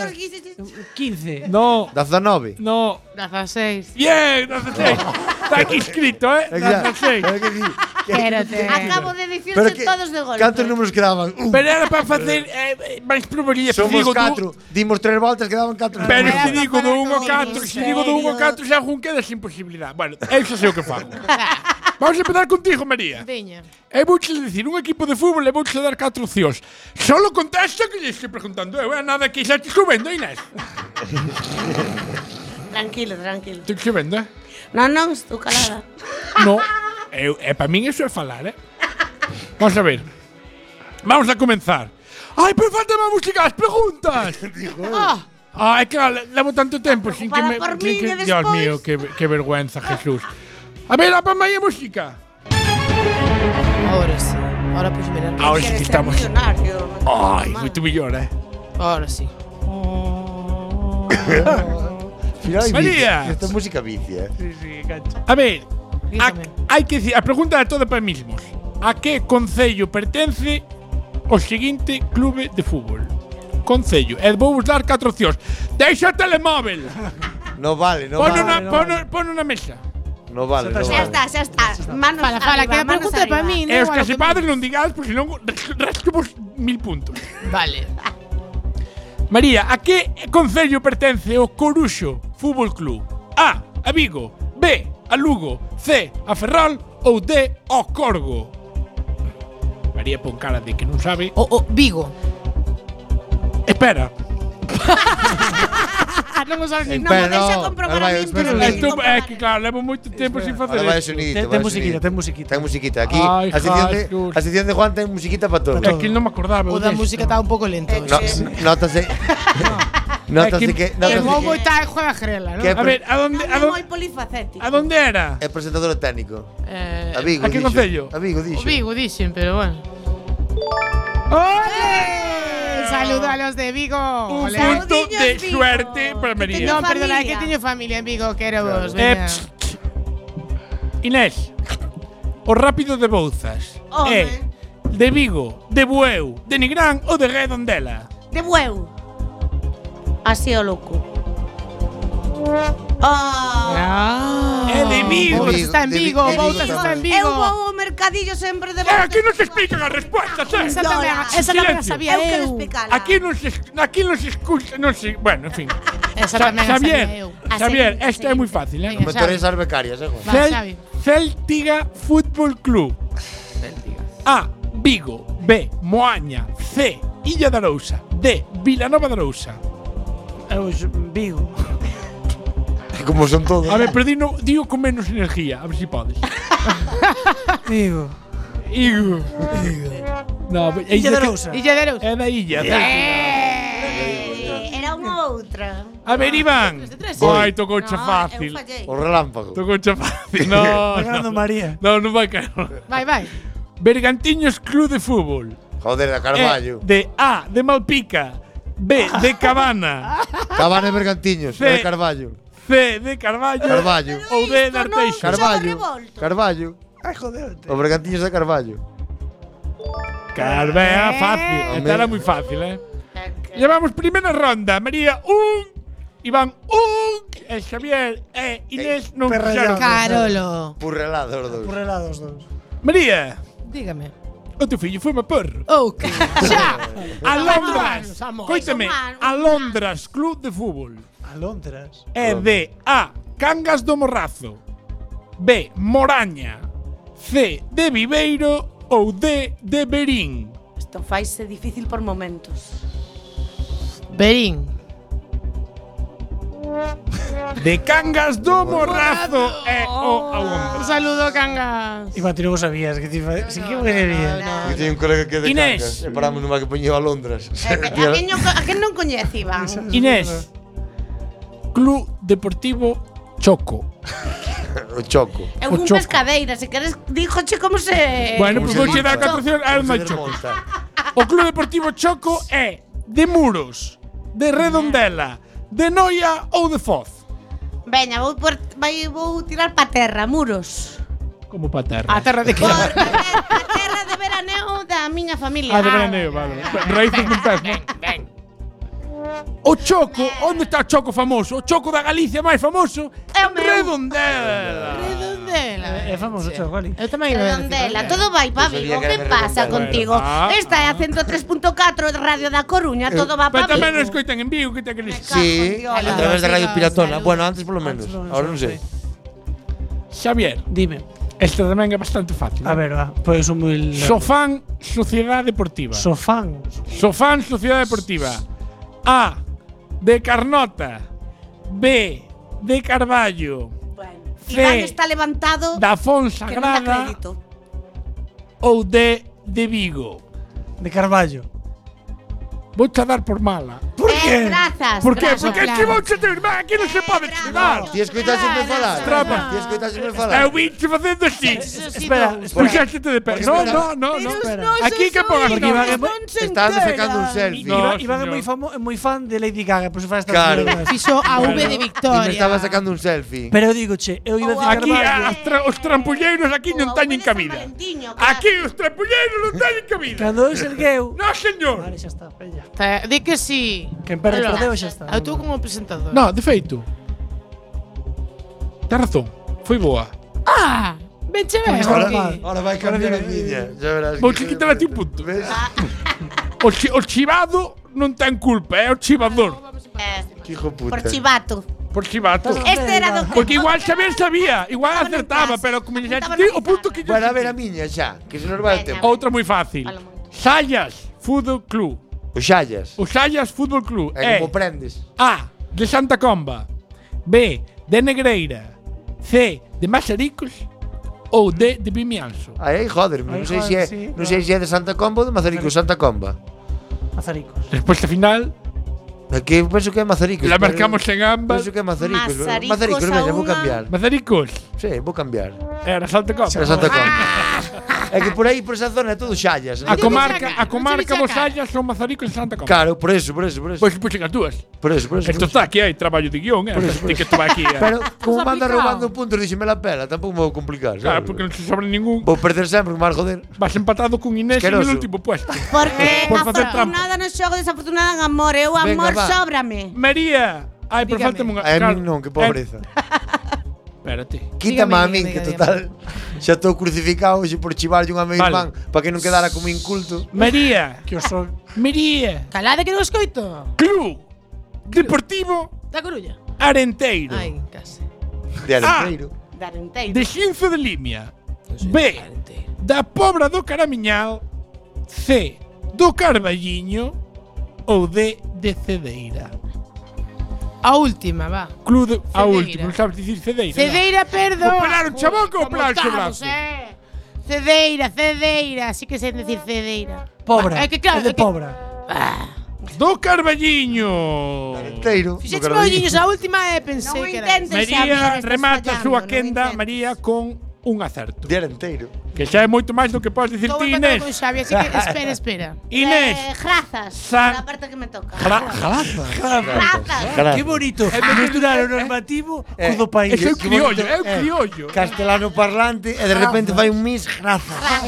Speaker 17: 15.
Speaker 13: 13, 14, 15.
Speaker 12: No.
Speaker 10: 19.
Speaker 12: No.
Speaker 14: 16.
Speaker 12: Bien, 16. Está aquí escrito, ¿eh?
Speaker 10: Exacto.
Speaker 12: 16.
Speaker 14: Espérate.
Speaker 13: Acabo de
Speaker 10: Pero
Speaker 13: dicirse
Speaker 10: que-
Speaker 13: todos de golpe.
Speaker 10: Cantos números quedaban? Un.
Speaker 12: Pero era para facer eh, máis probabilidades.
Speaker 10: Somos
Speaker 12: Digo,
Speaker 10: 4. Dimos 3 voltas, quedaban 4.
Speaker 12: Pero se digo do 1 ao 4, se
Speaker 13: misterio.
Speaker 12: digo do 1 ao 4 xa algún queda sin posibilidad. Bueno, eso sei o que fago. Vamos a empezar contigo, María.
Speaker 14: Veña.
Speaker 12: E vouche dicir, un equipo de fútbol e vouche dar 4 opcións. Solo contesta que lle estou preguntando eu, eh? nada que xa te subendo, Inés.
Speaker 13: Tranquilo, tranquilo.
Speaker 12: Te subendo, eh?
Speaker 13: Non, non, estou calada.
Speaker 12: No, eu, e para min eso é falar, eh? Vamos a ver. Vamos a comenzar. Ai, pero falta má música, as preguntas.
Speaker 13: Ah,
Speaker 12: Ai, claro, levo tanto tempo sin que me...
Speaker 13: Preocupada por
Speaker 12: sin
Speaker 13: min
Speaker 12: que,
Speaker 13: e despois.
Speaker 12: Dios mío, que, que vergüenza, Jesús. A ver, apa máis a música.
Speaker 14: Ahora sí. Ahora pues mirar.
Speaker 12: Ahora sí que estamos. Ay, moito mellor, eh.
Speaker 14: Ahora sí.
Speaker 12: María.
Speaker 10: Esta música vicia. eh.
Speaker 12: A ver, a, hai que decir, a pregunta é toda para mismos. A que concello pertence o seguinte clube de fútbol? Concello. E vou vos dar catro opcións. Deixa o telemóvel.
Speaker 10: No vale, no
Speaker 12: Pono
Speaker 10: vale.
Speaker 12: na, pono, pono na mesa.
Speaker 10: No vale, no vale.
Speaker 13: Ya está, ya está. Manos
Speaker 14: Fala, fala,
Speaker 13: arriba,
Speaker 14: que a
Speaker 13: manos
Speaker 14: pregunta é para
Speaker 13: arriba.
Speaker 14: min,
Speaker 12: E os que se padres non digades porque senón res- rascamos mil puntos.
Speaker 14: Vale.
Speaker 12: María, a que concello pertence o Coruxo Fútbol Club? A. A Vigo. B. A Lugo. C. A Ferrol. Ou D. O Corgo. María pon cara de que non sabe.
Speaker 14: O, o Vigo.
Speaker 12: Espera.
Speaker 14: non o sabes
Speaker 12: nin
Speaker 14: nin
Speaker 12: nada.
Speaker 14: nada.
Speaker 12: Pero
Speaker 14: deixa
Speaker 12: no,
Speaker 14: comprobar
Speaker 10: ahora
Speaker 14: a
Speaker 10: vai,
Speaker 14: min,
Speaker 10: espera,
Speaker 14: pero
Speaker 10: espera.
Speaker 14: non
Speaker 12: Tú, é que claro, levo moito tempo sin facer
Speaker 10: Ahora va el
Speaker 12: isto.
Speaker 10: sonidito,
Speaker 12: Ten-
Speaker 10: va
Speaker 12: ten
Speaker 10: el
Speaker 12: musiquita,
Speaker 10: sonidito.
Speaker 12: ten musiquita.
Speaker 10: Ten musiquita. Aquí,
Speaker 12: Ay,
Speaker 10: la sección de-
Speaker 12: Jesús.
Speaker 10: la sección de Juan ten musiquita para todos.
Speaker 12: É que non me acordaba.
Speaker 14: O da música está un pouco lento.
Speaker 10: No,
Speaker 12: É
Speaker 10: nótase. Nótase
Speaker 12: que-
Speaker 10: que.
Speaker 14: El
Speaker 10: nótase
Speaker 14: Momo está en juega grela,
Speaker 10: que-
Speaker 14: ¿no?
Speaker 10: que-
Speaker 12: ¿a dónde,
Speaker 13: Non é moi polifacético.
Speaker 12: dónde era?
Speaker 10: El presentador técnico.
Speaker 14: Eh,
Speaker 10: A Vigo.
Speaker 12: a que
Speaker 10: dixo.
Speaker 12: concello?
Speaker 10: A Vigo,
Speaker 14: o
Speaker 10: dixo.
Speaker 14: Vigo dicen, pero bueno. ¡Ole! Saludo a los de Vigo.
Speaker 12: Un
Speaker 14: Ole.
Speaker 12: punto de suerte para María.
Speaker 14: No, perdona, que teño familia en Vigo, quero vos.
Speaker 12: Eh,
Speaker 14: veña.
Speaker 12: pss, pss. Inés, o rápido de Bouzas
Speaker 13: Home.
Speaker 12: é de Vigo, de Bueu, de Nigrán ou de Redondela?
Speaker 13: De bueu. Así o loco. Oh.
Speaker 12: É de Vigo.
Speaker 14: Bouzas está
Speaker 12: Ah.
Speaker 14: en
Speaker 12: De Vi-
Speaker 14: Vigo,
Speaker 12: de Vigo
Speaker 14: Bouzas está en Vigo.
Speaker 13: Eu vou ao mercadillo sempre de
Speaker 12: Aquí non se explican as respuestas, eh?
Speaker 14: Esa tamén, esa tamén a sabía
Speaker 13: Eu quero
Speaker 14: eu.
Speaker 13: explicala.
Speaker 12: Aquí non se, aquí non se escucha, non se, bueno, en fin.
Speaker 14: Esa
Speaker 12: Xa-
Speaker 14: tamén a
Speaker 12: Xavier,
Speaker 14: sabía eu. A
Speaker 12: Xavier,
Speaker 14: seguir, a
Speaker 12: esta é moi fácil, eh?
Speaker 14: Venga, Xavi.
Speaker 10: As becarias, eh, Juan.
Speaker 14: Va,
Speaker 12: Cel-
Speaker 14: Xavi.
Speaker 12: Celtiga Fútbol Club. A. Vigo. B. Moaña. C. Illa da Lousa. D. Vilanova da Lousa.
Speaker 17: Vigo.
Speaker 10: Como son todos.
Speaker 12: A ver, pero di, no, digo con menos energía, a ver si podes.
Speaker 17: Vigo.
Speaker 12: Igo. No, pero-
Speaker 17: Illa da
Speaker 12: que-
Speaker 17: Lousa.
Speaker 14: Illa de Reus.
Speaker 12: É da Illa.
Speaker 13: Eh, Era unha outra.
Speaker 12: A ver, Iván.
Speaker 13: Ah. tres, sí.
Speaker 12: Ai, tococha
Speaker 13: No,
Speaker 12: fácil.
Speaker 13: eu fallei.
Speaker 10: O relámpago.
Speaker 12: Tococha fácil. No,
Speaker 17: Va ganando
Speaker 12: no.
Speaker 17: María.
Speaker 12: No, non vai caer.
Speaker 14: Vai, vai.
Speaker 12: Bergantiños Club de Fútbol.
Speaker 10: Joder, a Carballo.
Speaker 12: Eh, de A, de Malpica. B, de Cabana.
Speaker 10: Cabana e Bergantiños.
Speaker 12: Sí.
Speaker 10: no de Carballo.
Speaker 12: C, de Carballo.
Speaker 10: Carballo.
Speaker 12: Ou D, de Arteixo.
Speaker 10: Carballo. Carballo.
Speaker 17: Ay, joder.
Speaker 10: O Bergantiños de Carballo.
Speaker 12: Carballo,
Speaker 17: Eh.
Speaker 12: era fácil. Esta era
Speaker 10: Hombre.
Speaker 12: muy fácil, ¿eh? Llevamos primera ronda. María, un. Iván, un. E Xavier e Inés non fixaron.
Speaker 14: Carolo.
Speaker 10: Purrelados os dous.
Speaker 17: Purrelados dos.
Speaker 12: María,
Speaker 14: Dígame.
Speaker 12: o teu fillo foi porro.
Speaker 14: Oh, que- xa.
Speaker 12: A Londres.
Speaker 14: Humanos, amor.
Speaker 12: Coítame, a Londres Club de Fútbol.
Speaker 17: Alondras.
Speaker 12: É de A. Cangas do Morrazo. B. Moraña. C. De Viveiro. Ou D. De Berín.
Speaker 13: Isto faise difícil por momentos.
Speaker 14: Berín.
Speaker 12: De Cangas do Morrazo é o
Speaker 14: Un
Speaker 12: Alondra.
Speaker 14: saludo, cangas.
Speaker 17: Iba, tú non o sabías. Que te iba, sí que me
Speaker 10: Que tiña un colega que é de
Speaker 12: Inés.
Speaker 10: Cangas. E paramos numa que poñía a Londres.
Speaker 13: Eh, que- A quen, non co- a quen non coñece, Iván?
Speaker 12: Inés. Club Deportivo Choco.
Speaker 10: o choco.
Speaker 13: É
Speaker 12: O
Speaker 13: un
Speaker 12: Pues choco.
Speaker 13: pescadeira, se queres, díjoche como
Speaker 14: Eh,
Speaker 13: se...
Speaker 12: bueno, pues
Speaker 10: se
Speaker 12: vou che dar
Speaker 10: diz,
Speaker 12: catro opcións al
Speaker 10: se
Speaker 12: máis Choco. O Club Deportivo Choco é de Muros, de Redondela, de Noia ou de Foz.
Speaker 13: Veña, vou, por, vai, vou tirar pa terra, muros.
Speaker 12: Como pa terra.
Speaker 14: A terra de que?
Speaker 13: Por a ver, a terra de veraneo da miña familia. Ah.
Speaker 12: Ah, de veraneo, vale. Raíces montais, non? O Choco, onde está o Choco famoso? O Choco da Galicia máis famoso?
Speaker 13: É o meu.
Speaker 12: Redondela.
Speaker 14: Redondela.
Speaker 17: É famoso, o Choco, ali.
Speaker 14: Eu tamén iba a decir
Speaker 13: Redondela, todo vai pa Vigo,
Speaker 10: que
Speaker 13: que
Speaker 10: era
Speaker 13: pasa
Speaker 10: Redondela.
Speaker 13: contigo?
Speaker 12: Ah. Eh,
Speaker 13: Esta é a 103.4 Radio da Coruña, todo va
Speaker 12: Pero
Speaker 13: pa
Speaker 12: tamén non
Speaker 13: Vigo.
Speaker 12: escoitan en Vigo, que te crees?
Speaker 10: Sí,
Speaker 13: Cago en Dios.
Speaker 10: a través de Radio
Speaker 14: Saludos,
Speaker 10: Piratona.
Speaker 14: saludos.
Speaker 10: Bueno, antes por lo menos.
Speaker 17: Antes por lo menos,
Speaker 10: Ahora non sei.
Speaker 12: Xavier,
Speaker 17: Dime.
Speaker 12: esta tamén é bastante fácil. eh.
Speaker 17: A ver, va. Pues un muy…
Speaker 12: Sofán, Sociedad Deportiva.
Speaker 17: Sofán.
Speaker 12: Sofán, Sociedad Deportiva. A. De Carnota. B. De Carballo.
Speaker 13: Iván
Speaker 12: C.
Speaker 13: está levantado
Speaker 12: Da
Speaker 13: que non dá
Speaker 12: Fonsagrada.
Speaker 13: crédito.
Speaker 12: Ou D. De Vigo.
Speaker 17: De Carballo.
Speaker 12: Vou a dar por mala.
Speaker 17: Por
Speaker 13: Eh,
Speaker 17: qué?
Speaker 13: grazas,
Speaker 12: Por que?
Speaker 13: grazas.
Speaker 12: Porque este vou che ter aquí non se pode chegar.
Speaker 10: Ti escoitasesme falar?
Speaker 12: Trapa. Eh,
Speaker 10: Ti escoitasesme falar?
Speaker 12: Eu vinche facendo así.
Speaker 17: Espera, espera.
Speaker 12: Puxaste de pé. No, no, no, no. Aquí que pongas
Speaker 17: Porque Iván é moi-
Speaker 10: Estás sacando un selfie.
Speaker 12: No,
Speaker 17: Iván- Iván é
Speaker 12: señor.
Speaker 17: moi famo- é moi fan de Lady Gaga, por eso faz estas
Speaker 10: Claro.
Speaker 17: mierdas.
Speaker 14: Fixo a V de
Speaker 10: Ti me
Speaker 14: Victoria. Oh,
Speaker 10: estaba sacando un selfie.
Speaker 17: Pero eu digo, che, eu iba a decir
Speaker 12: Oh, Aquí ah,
Speaker 17: Carballo.
Speaker 12: as tra- os trampulleiros aquí non teñen
Speaker 13: San
Speaker 12: cabida.
Speaker 13: Oh, Valentiño, claro.
Speaker 12: Aquí os trampulleiros non teñen cabida.
Speaker 17: Cando eu sergueu…
Speaker 12: No, señor.
Speaker 17: Vale, xa está, pella.
Speaker 14: Te- Di que sí. Ah,
Speaker 17: Quen perde
Speaker 14: Hola.
Speaker 17: perdeu e xa está.
Speaker 14: Eu tú como presentador.
Speaker 12: No, de feito. Ten razón. Foi boa.
Speaker 17: Eh,
Speaker 14: ¡Ah! Benchevero.
Speaker 10: Ahora, ahora vai cambiar a miña. Ya verás.
Speaker 12: Vou que quitar a ti un punto. O, chi, o chivado non ten culpa, é o chivador.
Speaker 10: Que hijo puta.
Speaker 13: Eh, Por chivato.
Speaker 12: Por chivato.
Speaker 13: Este era do-
Speaker 12: Porque igual tamén sabía, igual acertaba, Eh, pero como xa te digo, o punto que yo
Speaker 10: Bueno, a ver a miña xa, que se nos vai o tempo.
Speaker 12: Outra moi fácil. Sallas Fútbol Club.
Speaker 10: O Xallas.
Speaker 12: O Sallas Fútbol Club. É
Speaker 10: É Eh, como prendes.
Speaker 12: A. De Santa Comba. B. De Negreira. C. De Mazaricos. Ou D. De Vimianzo.
Speaker 10: Aí, joderme, non
Speaker 12: Ai,
Speaker 10: sei se é,
Speaker 12: joder, sí,
Speaker 10: non sei se é de Santa Comba ou de Mazarico, Santa Comba.
Speaker 11: Mazaricos.
Speaker 12: Resposta final.
Speaker 10: Aquí penso que é Mazaricos.
Speaker 12: La
Speaker 10: pero
Speaker 12: marcamos en ambas.
Speaker 10: Penso que é Mazaricos.
Speaker 12: Mazaricos
Speaker 10: Mazaricos,
Speaker 12: a
Speaker 10: veña, vou
Speaker 12: unha.
Speaker 10: cambiar.
Speaker 12: Mazaricos?
Speaker 10: Sí, vou cambiar.
Speaker 12: Era Santa Comba.
Speaker 10: Era Santa Comba. É que por aí, por esa zona, é todo Xallas.
Speaker 12: A comarca, a comarca vos hallas son Mazaricos e Santa Comba.
Speaker 10: Claro, por eso, por eso, por eso.
Speaker 12: Pois puxen as dúas.
Speaker 10: Por eso, por eso.
Speaker 12: Esto está aquí, hai traballo de guión, eh? Tem que tomar aquí. eh.
Speaker 10: Pero como manda roubando puntos, díxeme la pela, tampouco me vou complicar.
Speaker 12: Claro,
Speaker 10: sabes?
Speaker 12: porque non se sobra ningún.
Speaker 10: Vou perder sempre, que me vas joder.
Speaker 12: Vas empatado con Inés en el
Speaker 10: Asqueroso.
Speaker 12: último puesto.
Speaker 13: Porque
Speaker 12: Por facer trampa.
Speaker 13: afortunada no xogo, desafortunada en amor. Eu amor
Speaker 12: Venga, va.
Speaker 13: sóbrame.
Speaker 12: María. Ai, pero
Speaker 13: Dígame.
Speaker 12: falta-me unha...
Speaker 10: A
Speaker 12: claro,
Speaker 10: min non, que pobreza.
Speaker 12: Espérate.
Speaker 10: Quítame a min, que total, xa estou crucificado hoxe por chivarlle unha meio
Speaker 12: Vale.
Speaker 10: irmán para que non quedara como inculto.
Speaker 12: María.
Speaker 17: Que os son.
Speaker 12: María.
Speaker 14: Calade que non escoito.
Speaker 12: Club. Deportivo
Speaker 14: Da Coruña.
Speaker 12: Arenteiro.
Speaker 14: Ai, case. Ah,
Speaker 10: De
Speaker 12: Arenteiro.
Speaker 13: Darenteiro.
Speaker 12: De Xinzo de Limia. B. Da Pobra do Caramiñal. C. Do Carballiño. Ou D. De Cedeira.
Speaker 14: A última, va.
Speaker 12: Club de, a
Speaker 14: Cedeira.
Speaker 12: última, non sabes dicir Cedeira.
Speaker 14: Cedeira, perdón.
Speaker 12: Operaron, chabón, que
Speaker 14: Como
Speaker 12: operaron o brazo.
Speaker 14: estamos, eh? Cedeira, Cedeira, sí que sei decir Cedeira.
Speaker 12: Pobra,
Speaker 14: É que claro,
Speaker 12: é de
Speaker 14: é que- Ah.
Speaker 12: Pobra. Do Carballiño.
Speaker 10: Arenteiro.
Speaker 14: Fixéxeme olliños, a última é pensei que era.
Speaker 12: María remata a súa quenda, María, con un acerto.
Speaker 10: De Arenteiro.
Speaker 12: Que xa é moito máis do que podes dicir
Speaker 14: Estou
Speaker 12: ti,
Speaker 14: empatado
Speaker 12: Inés.
Speaker 14: con Xavi, así que espera, espera.
Speaker 12: Inés.
Speaker 13: Eh, grazas.
Speaker 12: San-
Speaker 13: La parte que me toca.
Speaker 12: Ah,
Speaker 10: Grazas.
Speaker 17: Que bonito.
Speaker 10: É
Speaker 17: Misturar o normativo
Speaker 12: eh,
Speaker 10: Eh,
Speaker 17: co do país.
Speaker 10: que bonito, eh, Castelano parlante e de repente fai un mis grazas.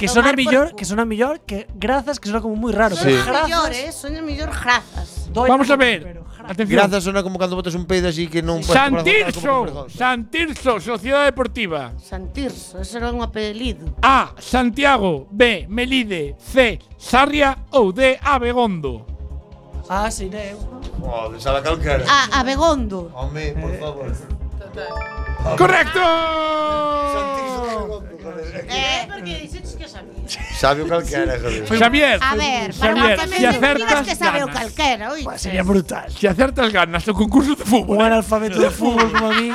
Speaker 17: Que sona mellor, que sona mellor que grazas, que sona como moi raro.
Speaker 10: Sí.
Speaker 17: pero
Speaker 13: Soño
Speaker 17: grazas-
Speaker 13: mellor, eh? Soño mellor grazas.
Speaker 12: Vamos a ver. Atención.
Speaker 10: Grazas sona como cando botas un peido así que non puedes
Speaker 12: Santirso, Santirso, Sociedad Deportiva.
Speaker 13: Santirso, ese era un apelido.
Speaker 12: A. Santiago. B. Melide. C. Sarria. Ou D. Abegondo.
Speaker 17: Ah, sí, né.
Speaker 10: Oh, deixala calquera.
Speaker 13: A, Abegondo.
Speaker 10: Home, por favor.
Speaker 12: Correcto.
Speaker 13: Eh, porque dices que sabías.
Speaker 10: Sabe o calquera, joder.
Speaker 12: Xavier.
Speaker 13: A ver, para
Speaker 12: Xavier,
Speaker 13: que me
Speaker 12: si
Speaker 13: digas
Speaker 12: acertas,
Speaker 13: que sabe o
Speaker 12: ganas.
Speaker 13: calquera, oíste.
Speaker 17: Pues Sería brutal.
Speaker 12: Si acertas ganas o concurso de fútbol. ¿eh?
Speaker 17: Un analfabeto de fútbol como a mí.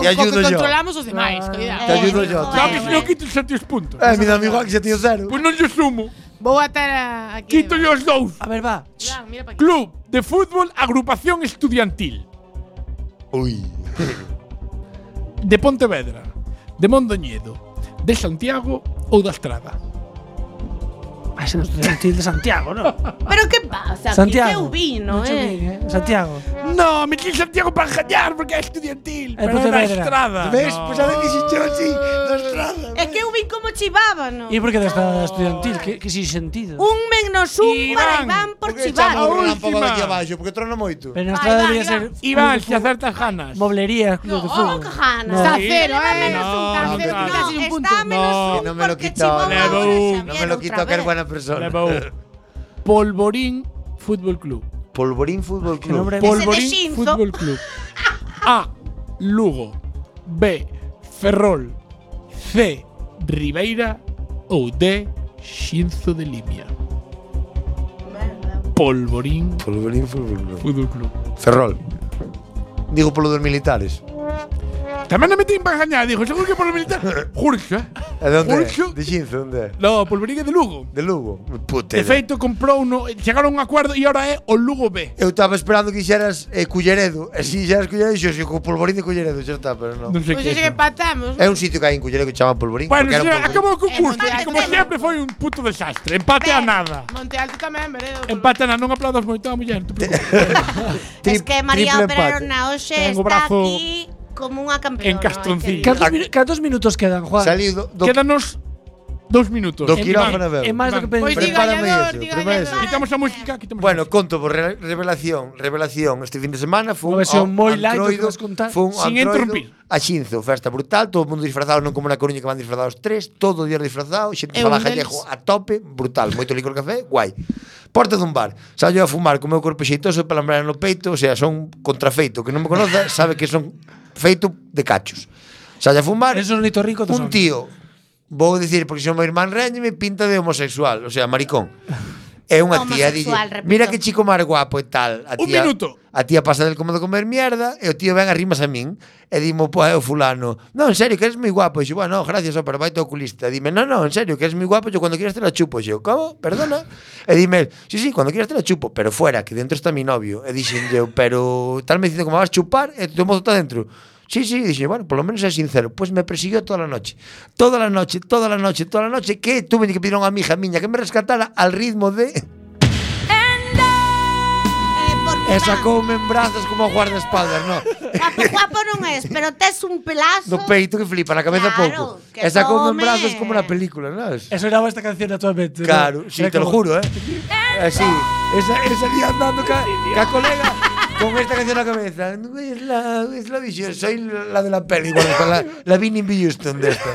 Speaker 10: Te ayudo yo. Ah,
Speaker 14: Controlamos os demais, cuidado.
Speaker 10: Te ayudo yo.
Speaker 12: Claro que si no quito xa ti os puntos.
Speaker 10: Eh, mi amigo aquí xa tiño cero.
Speaker 12: Pois non lle Pues sumo.
Speaker 14: Vou atar a- aquí.
Speaker 12: Quito os dous.
Speaker 17: A ver, va.
Speaker 14: Iván, mira pa aquí.
Speaker 12: Club de fútbol agrupación estudiantil.
Speaker 10: Uy.
Speaker 12: De Pontevedra, de Mondoñedo, de Santiago ou da Estrada.
Speaker 17: Ah, ese no es estudiantil de Santiago, ¿no?
Speaker 13: Pero qué pasa,
Speaker 17: Santiago.
Speaker 13: que eu vino,
Speaker 17: Mucho bien,
Speaker 13: eh.
Speaker 17: Santiago.
Speaker 12: No, me quise Santiago para engañar porque é estudiantil.
Speaker 17: É
Speaker 12: pero da
Speaker 17: Pontevedra.
Speaker 12: Estrada.
Speaker 17: Ves?
Speaker 12: No.
Speaker 17: Pois a ver que si yo así,
Speaker 13: da Estrada.
Speaker 12: eh.
Speaker 13: É que eu vi como chivábano.
Speaker 17: ¿Y por qué de esta estudiantil? ¿Qué, qué sin sentido?
Speaker 13: Un menos un para
Speaker 12: Iván.
Speaker 13: Iván por
Speaker 10: Porque chamo
Speaker 13: chivar.
Speaker 10: o
Speaker 12: última.
Speaker 10: relámpago aquí abaixo, porque trona moito.
Speaker 17: Pero nuestra
Speaker 13: Iván,
Speaker 17: debería
Speaker 13: Iván.
Speaker 17: ser.
Speaker 12: Iván, si acertas ganas.
Speaker 17: Moblería, club de
Speaker 10: Oh,
Speaker 17: fútbol.
Speaker 13: Ganas.
Speaker 14: Está a cero,
Speaker 12: No,
Speaker 14: eh. Está a cero,
Speaker 13: no,
Speaker 14: un punto.
Speaker 13: está a menos
Speaker 10: Que non me lo quitó.
Speaker 12: Leva un.
Speaker 10: Non me lo quitó, que eres buena persona.
Speaker 12: Leva un. Polvorín Fútbol Club.
Speaker 10: Polvorín Fútbol Club.
Speaker 13: Ese de
Speaker 12: Polvorín
Speaker 13: Shinzo.
Speaker 12: Fútbol Club. A. Lugo. B. Ferrol. C. Ribeira. Ou D. Xinzo de Limia. Polvorín
Speaker 10: Polvorín Fútbol Club.
Speaker 12: Fútbol Club.
Speaker 10: Ferrol. Digo polo dos militares.
Speaker 12: Tamén a metín para gañar, dixo, seguro que por o militar. Jurxo, eh?
Speaker 10: É de onde é?
Speaker 12: Jurxo.
Speaker 10: De Xinzo, onde é?
Speaker 12: No, Polvorín é de Lugo.
Speaker 10: De Lugo. Puta.
Speaker 12: De feito, comprou uno, chegaron a un acuerdo e ahora é o Lugo B.
Speaker 10: Eu estaba esperando que hixeras eh, Culleredo. E si hixeras Culleredo, yo si co Polvorín de Culleredo, xa está, pero non.
Speaker 12: Non sei
Speaker 14: Pois
Speaker 12: que
Speaker 14: xe Pues que empatamos.
Speaker 10: É un sitio que hai en Culleredo que chama Polvorín.
Speaker 12: Bueno,
Speaker 10: porque era un
Speaker 12: señora,
Speaker 10: polvorín.
Speaker 12: acabou o concurso.
Speaker 14: Empate,
Speaker 12: que como
Speaker 14: empate.
Speaker 12: sempre foi un puto desastre. Empate a nada.
Speaker 14: Monte Alto tamén, veredo.
Speaker 12: Empate a nada, non aplaudas moito a muller. non te preocupes.
Speaker 13: Es que María
Speaker 12: triple empate.
Speaker 13: Operona Oxe
Speaker 12: Tengo
Speaker 13: está
Speaker 12: brazo
Speaker 13: aquí como unha
Speaker 12: en
Speaker 13: campeona.
Speaker 12: castoncillo.
Speaker 17: ¿Cuántos, minutos quedan, Juan?
Speaker 10: Salí do, do
Speaker 12: Quédanos Dos minutos.
Speaker 10: Do quirófano veo.
Speaker 12: É máis do que
Speaker 10: Pois
Speaker 13: Pues
Speaker 12: pensei.
Speaker 10: diga, Prepárame ganador, eso, diga, prepárame ganador. eso.
Speaker 12: Quitamos a música, quitamos
Speaker 10: Bueno, conto por re- revelación, revelación este fin de semana
Speaker 12: Unha
Speaker 10: foi un
Speaker 12: versión
Speaker 10: an-
Speaker 12: moi light do que
Speaker 10: antroido,
Speaker 12: vas contar,
Speaker 10: foi un
Speaker 12: sin
Speaker 10: antroido
Speaker 12: interrumpir.
Speaker 10: A Xinzo, festa brutal, todo o mundo disfrazado, non como na Coruña que van disfrazados tres, todo o día disfrazado, xente
Speaker 15: Eu un
Speaker 10: fala
Speaker 15: deles.
Speaker 10: gallego a tope, brutal, moito licor café, guai. Porta dun bar, saio a fumar co meu corpo xeitoso, palambrana no peito, o sea, son contrafeito, que non me conoza, sabe que son feito de cachos. Saio a fumar, Eso
Speaker 11: rico
Speaker 10: un tío, vou dicir, porque son meu irmán réñeme, pinta de homosexual, o sea, maricón. É unha tía, dille,
Speaker 15: Homosexual, repito.
Speaker 10: mira que chico máis guapo e tal. A tía,
Speaker 15: Un minuto.
Speaker 10: A tía pasa del como de comer mierda e o tío ven arrimas a min e dimo, pois é o fulano. Non, en serio, que eres moi guapo. E dixo, bueno, gracias, ó, pero vai teu oculista. Dime, non, non, en serio, que eres moi guapo, yo cuando quieras te la chupo. E eu, como? Perdona? E dime, sí, sí, cuando quieras te la chupo, pero fuera, que dentro está mi novio. E dixen, eu, pero tal me dicindo como vas chupar e tu mozo está dentro. Sí, sí, dije, bueno, por lo menos es sincero. Pues me persiguió toda la noche. Toda la noche, toda la noche, toda la noche, que tuve que pedir a una amiga miña que me rescatara al ritmo de... E sacoume en brazos como a guardaespaldas, no?
Speaker 13: Guapo, guapo non es, pero tes un pelazo.
Speaker 10: No peito que flipa, na cabeza
Speaker 13: Claro,
Speaker 10: pouco.
Speaker 13: que
Speaker 10: E sacoume en
Speaker 13: come.
Speaker 10: brazos como na película, non?
Speaker 17: Eso era esta canción actualmente.
Speaker 10: Eh. Claro, sí, te lo juro, ¿eh? Así, esa, esa día andando ca, ca colega con esta canción en la cabeza. No, Es la, es la visión, soy la de la peli, igual, con la, la Vinnie B. Houston de esta.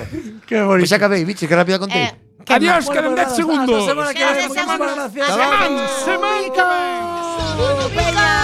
Speaker 10: Qué bonito. Pues acabéis, bicho, que rápido conté.
Speaker 12: Que Adiós, quedan 10 segundos.
Speaker 10: Hasta la semana que viene, porque más gracias.
Speaker 12: Semana, semana.
Speaker 13: Peña.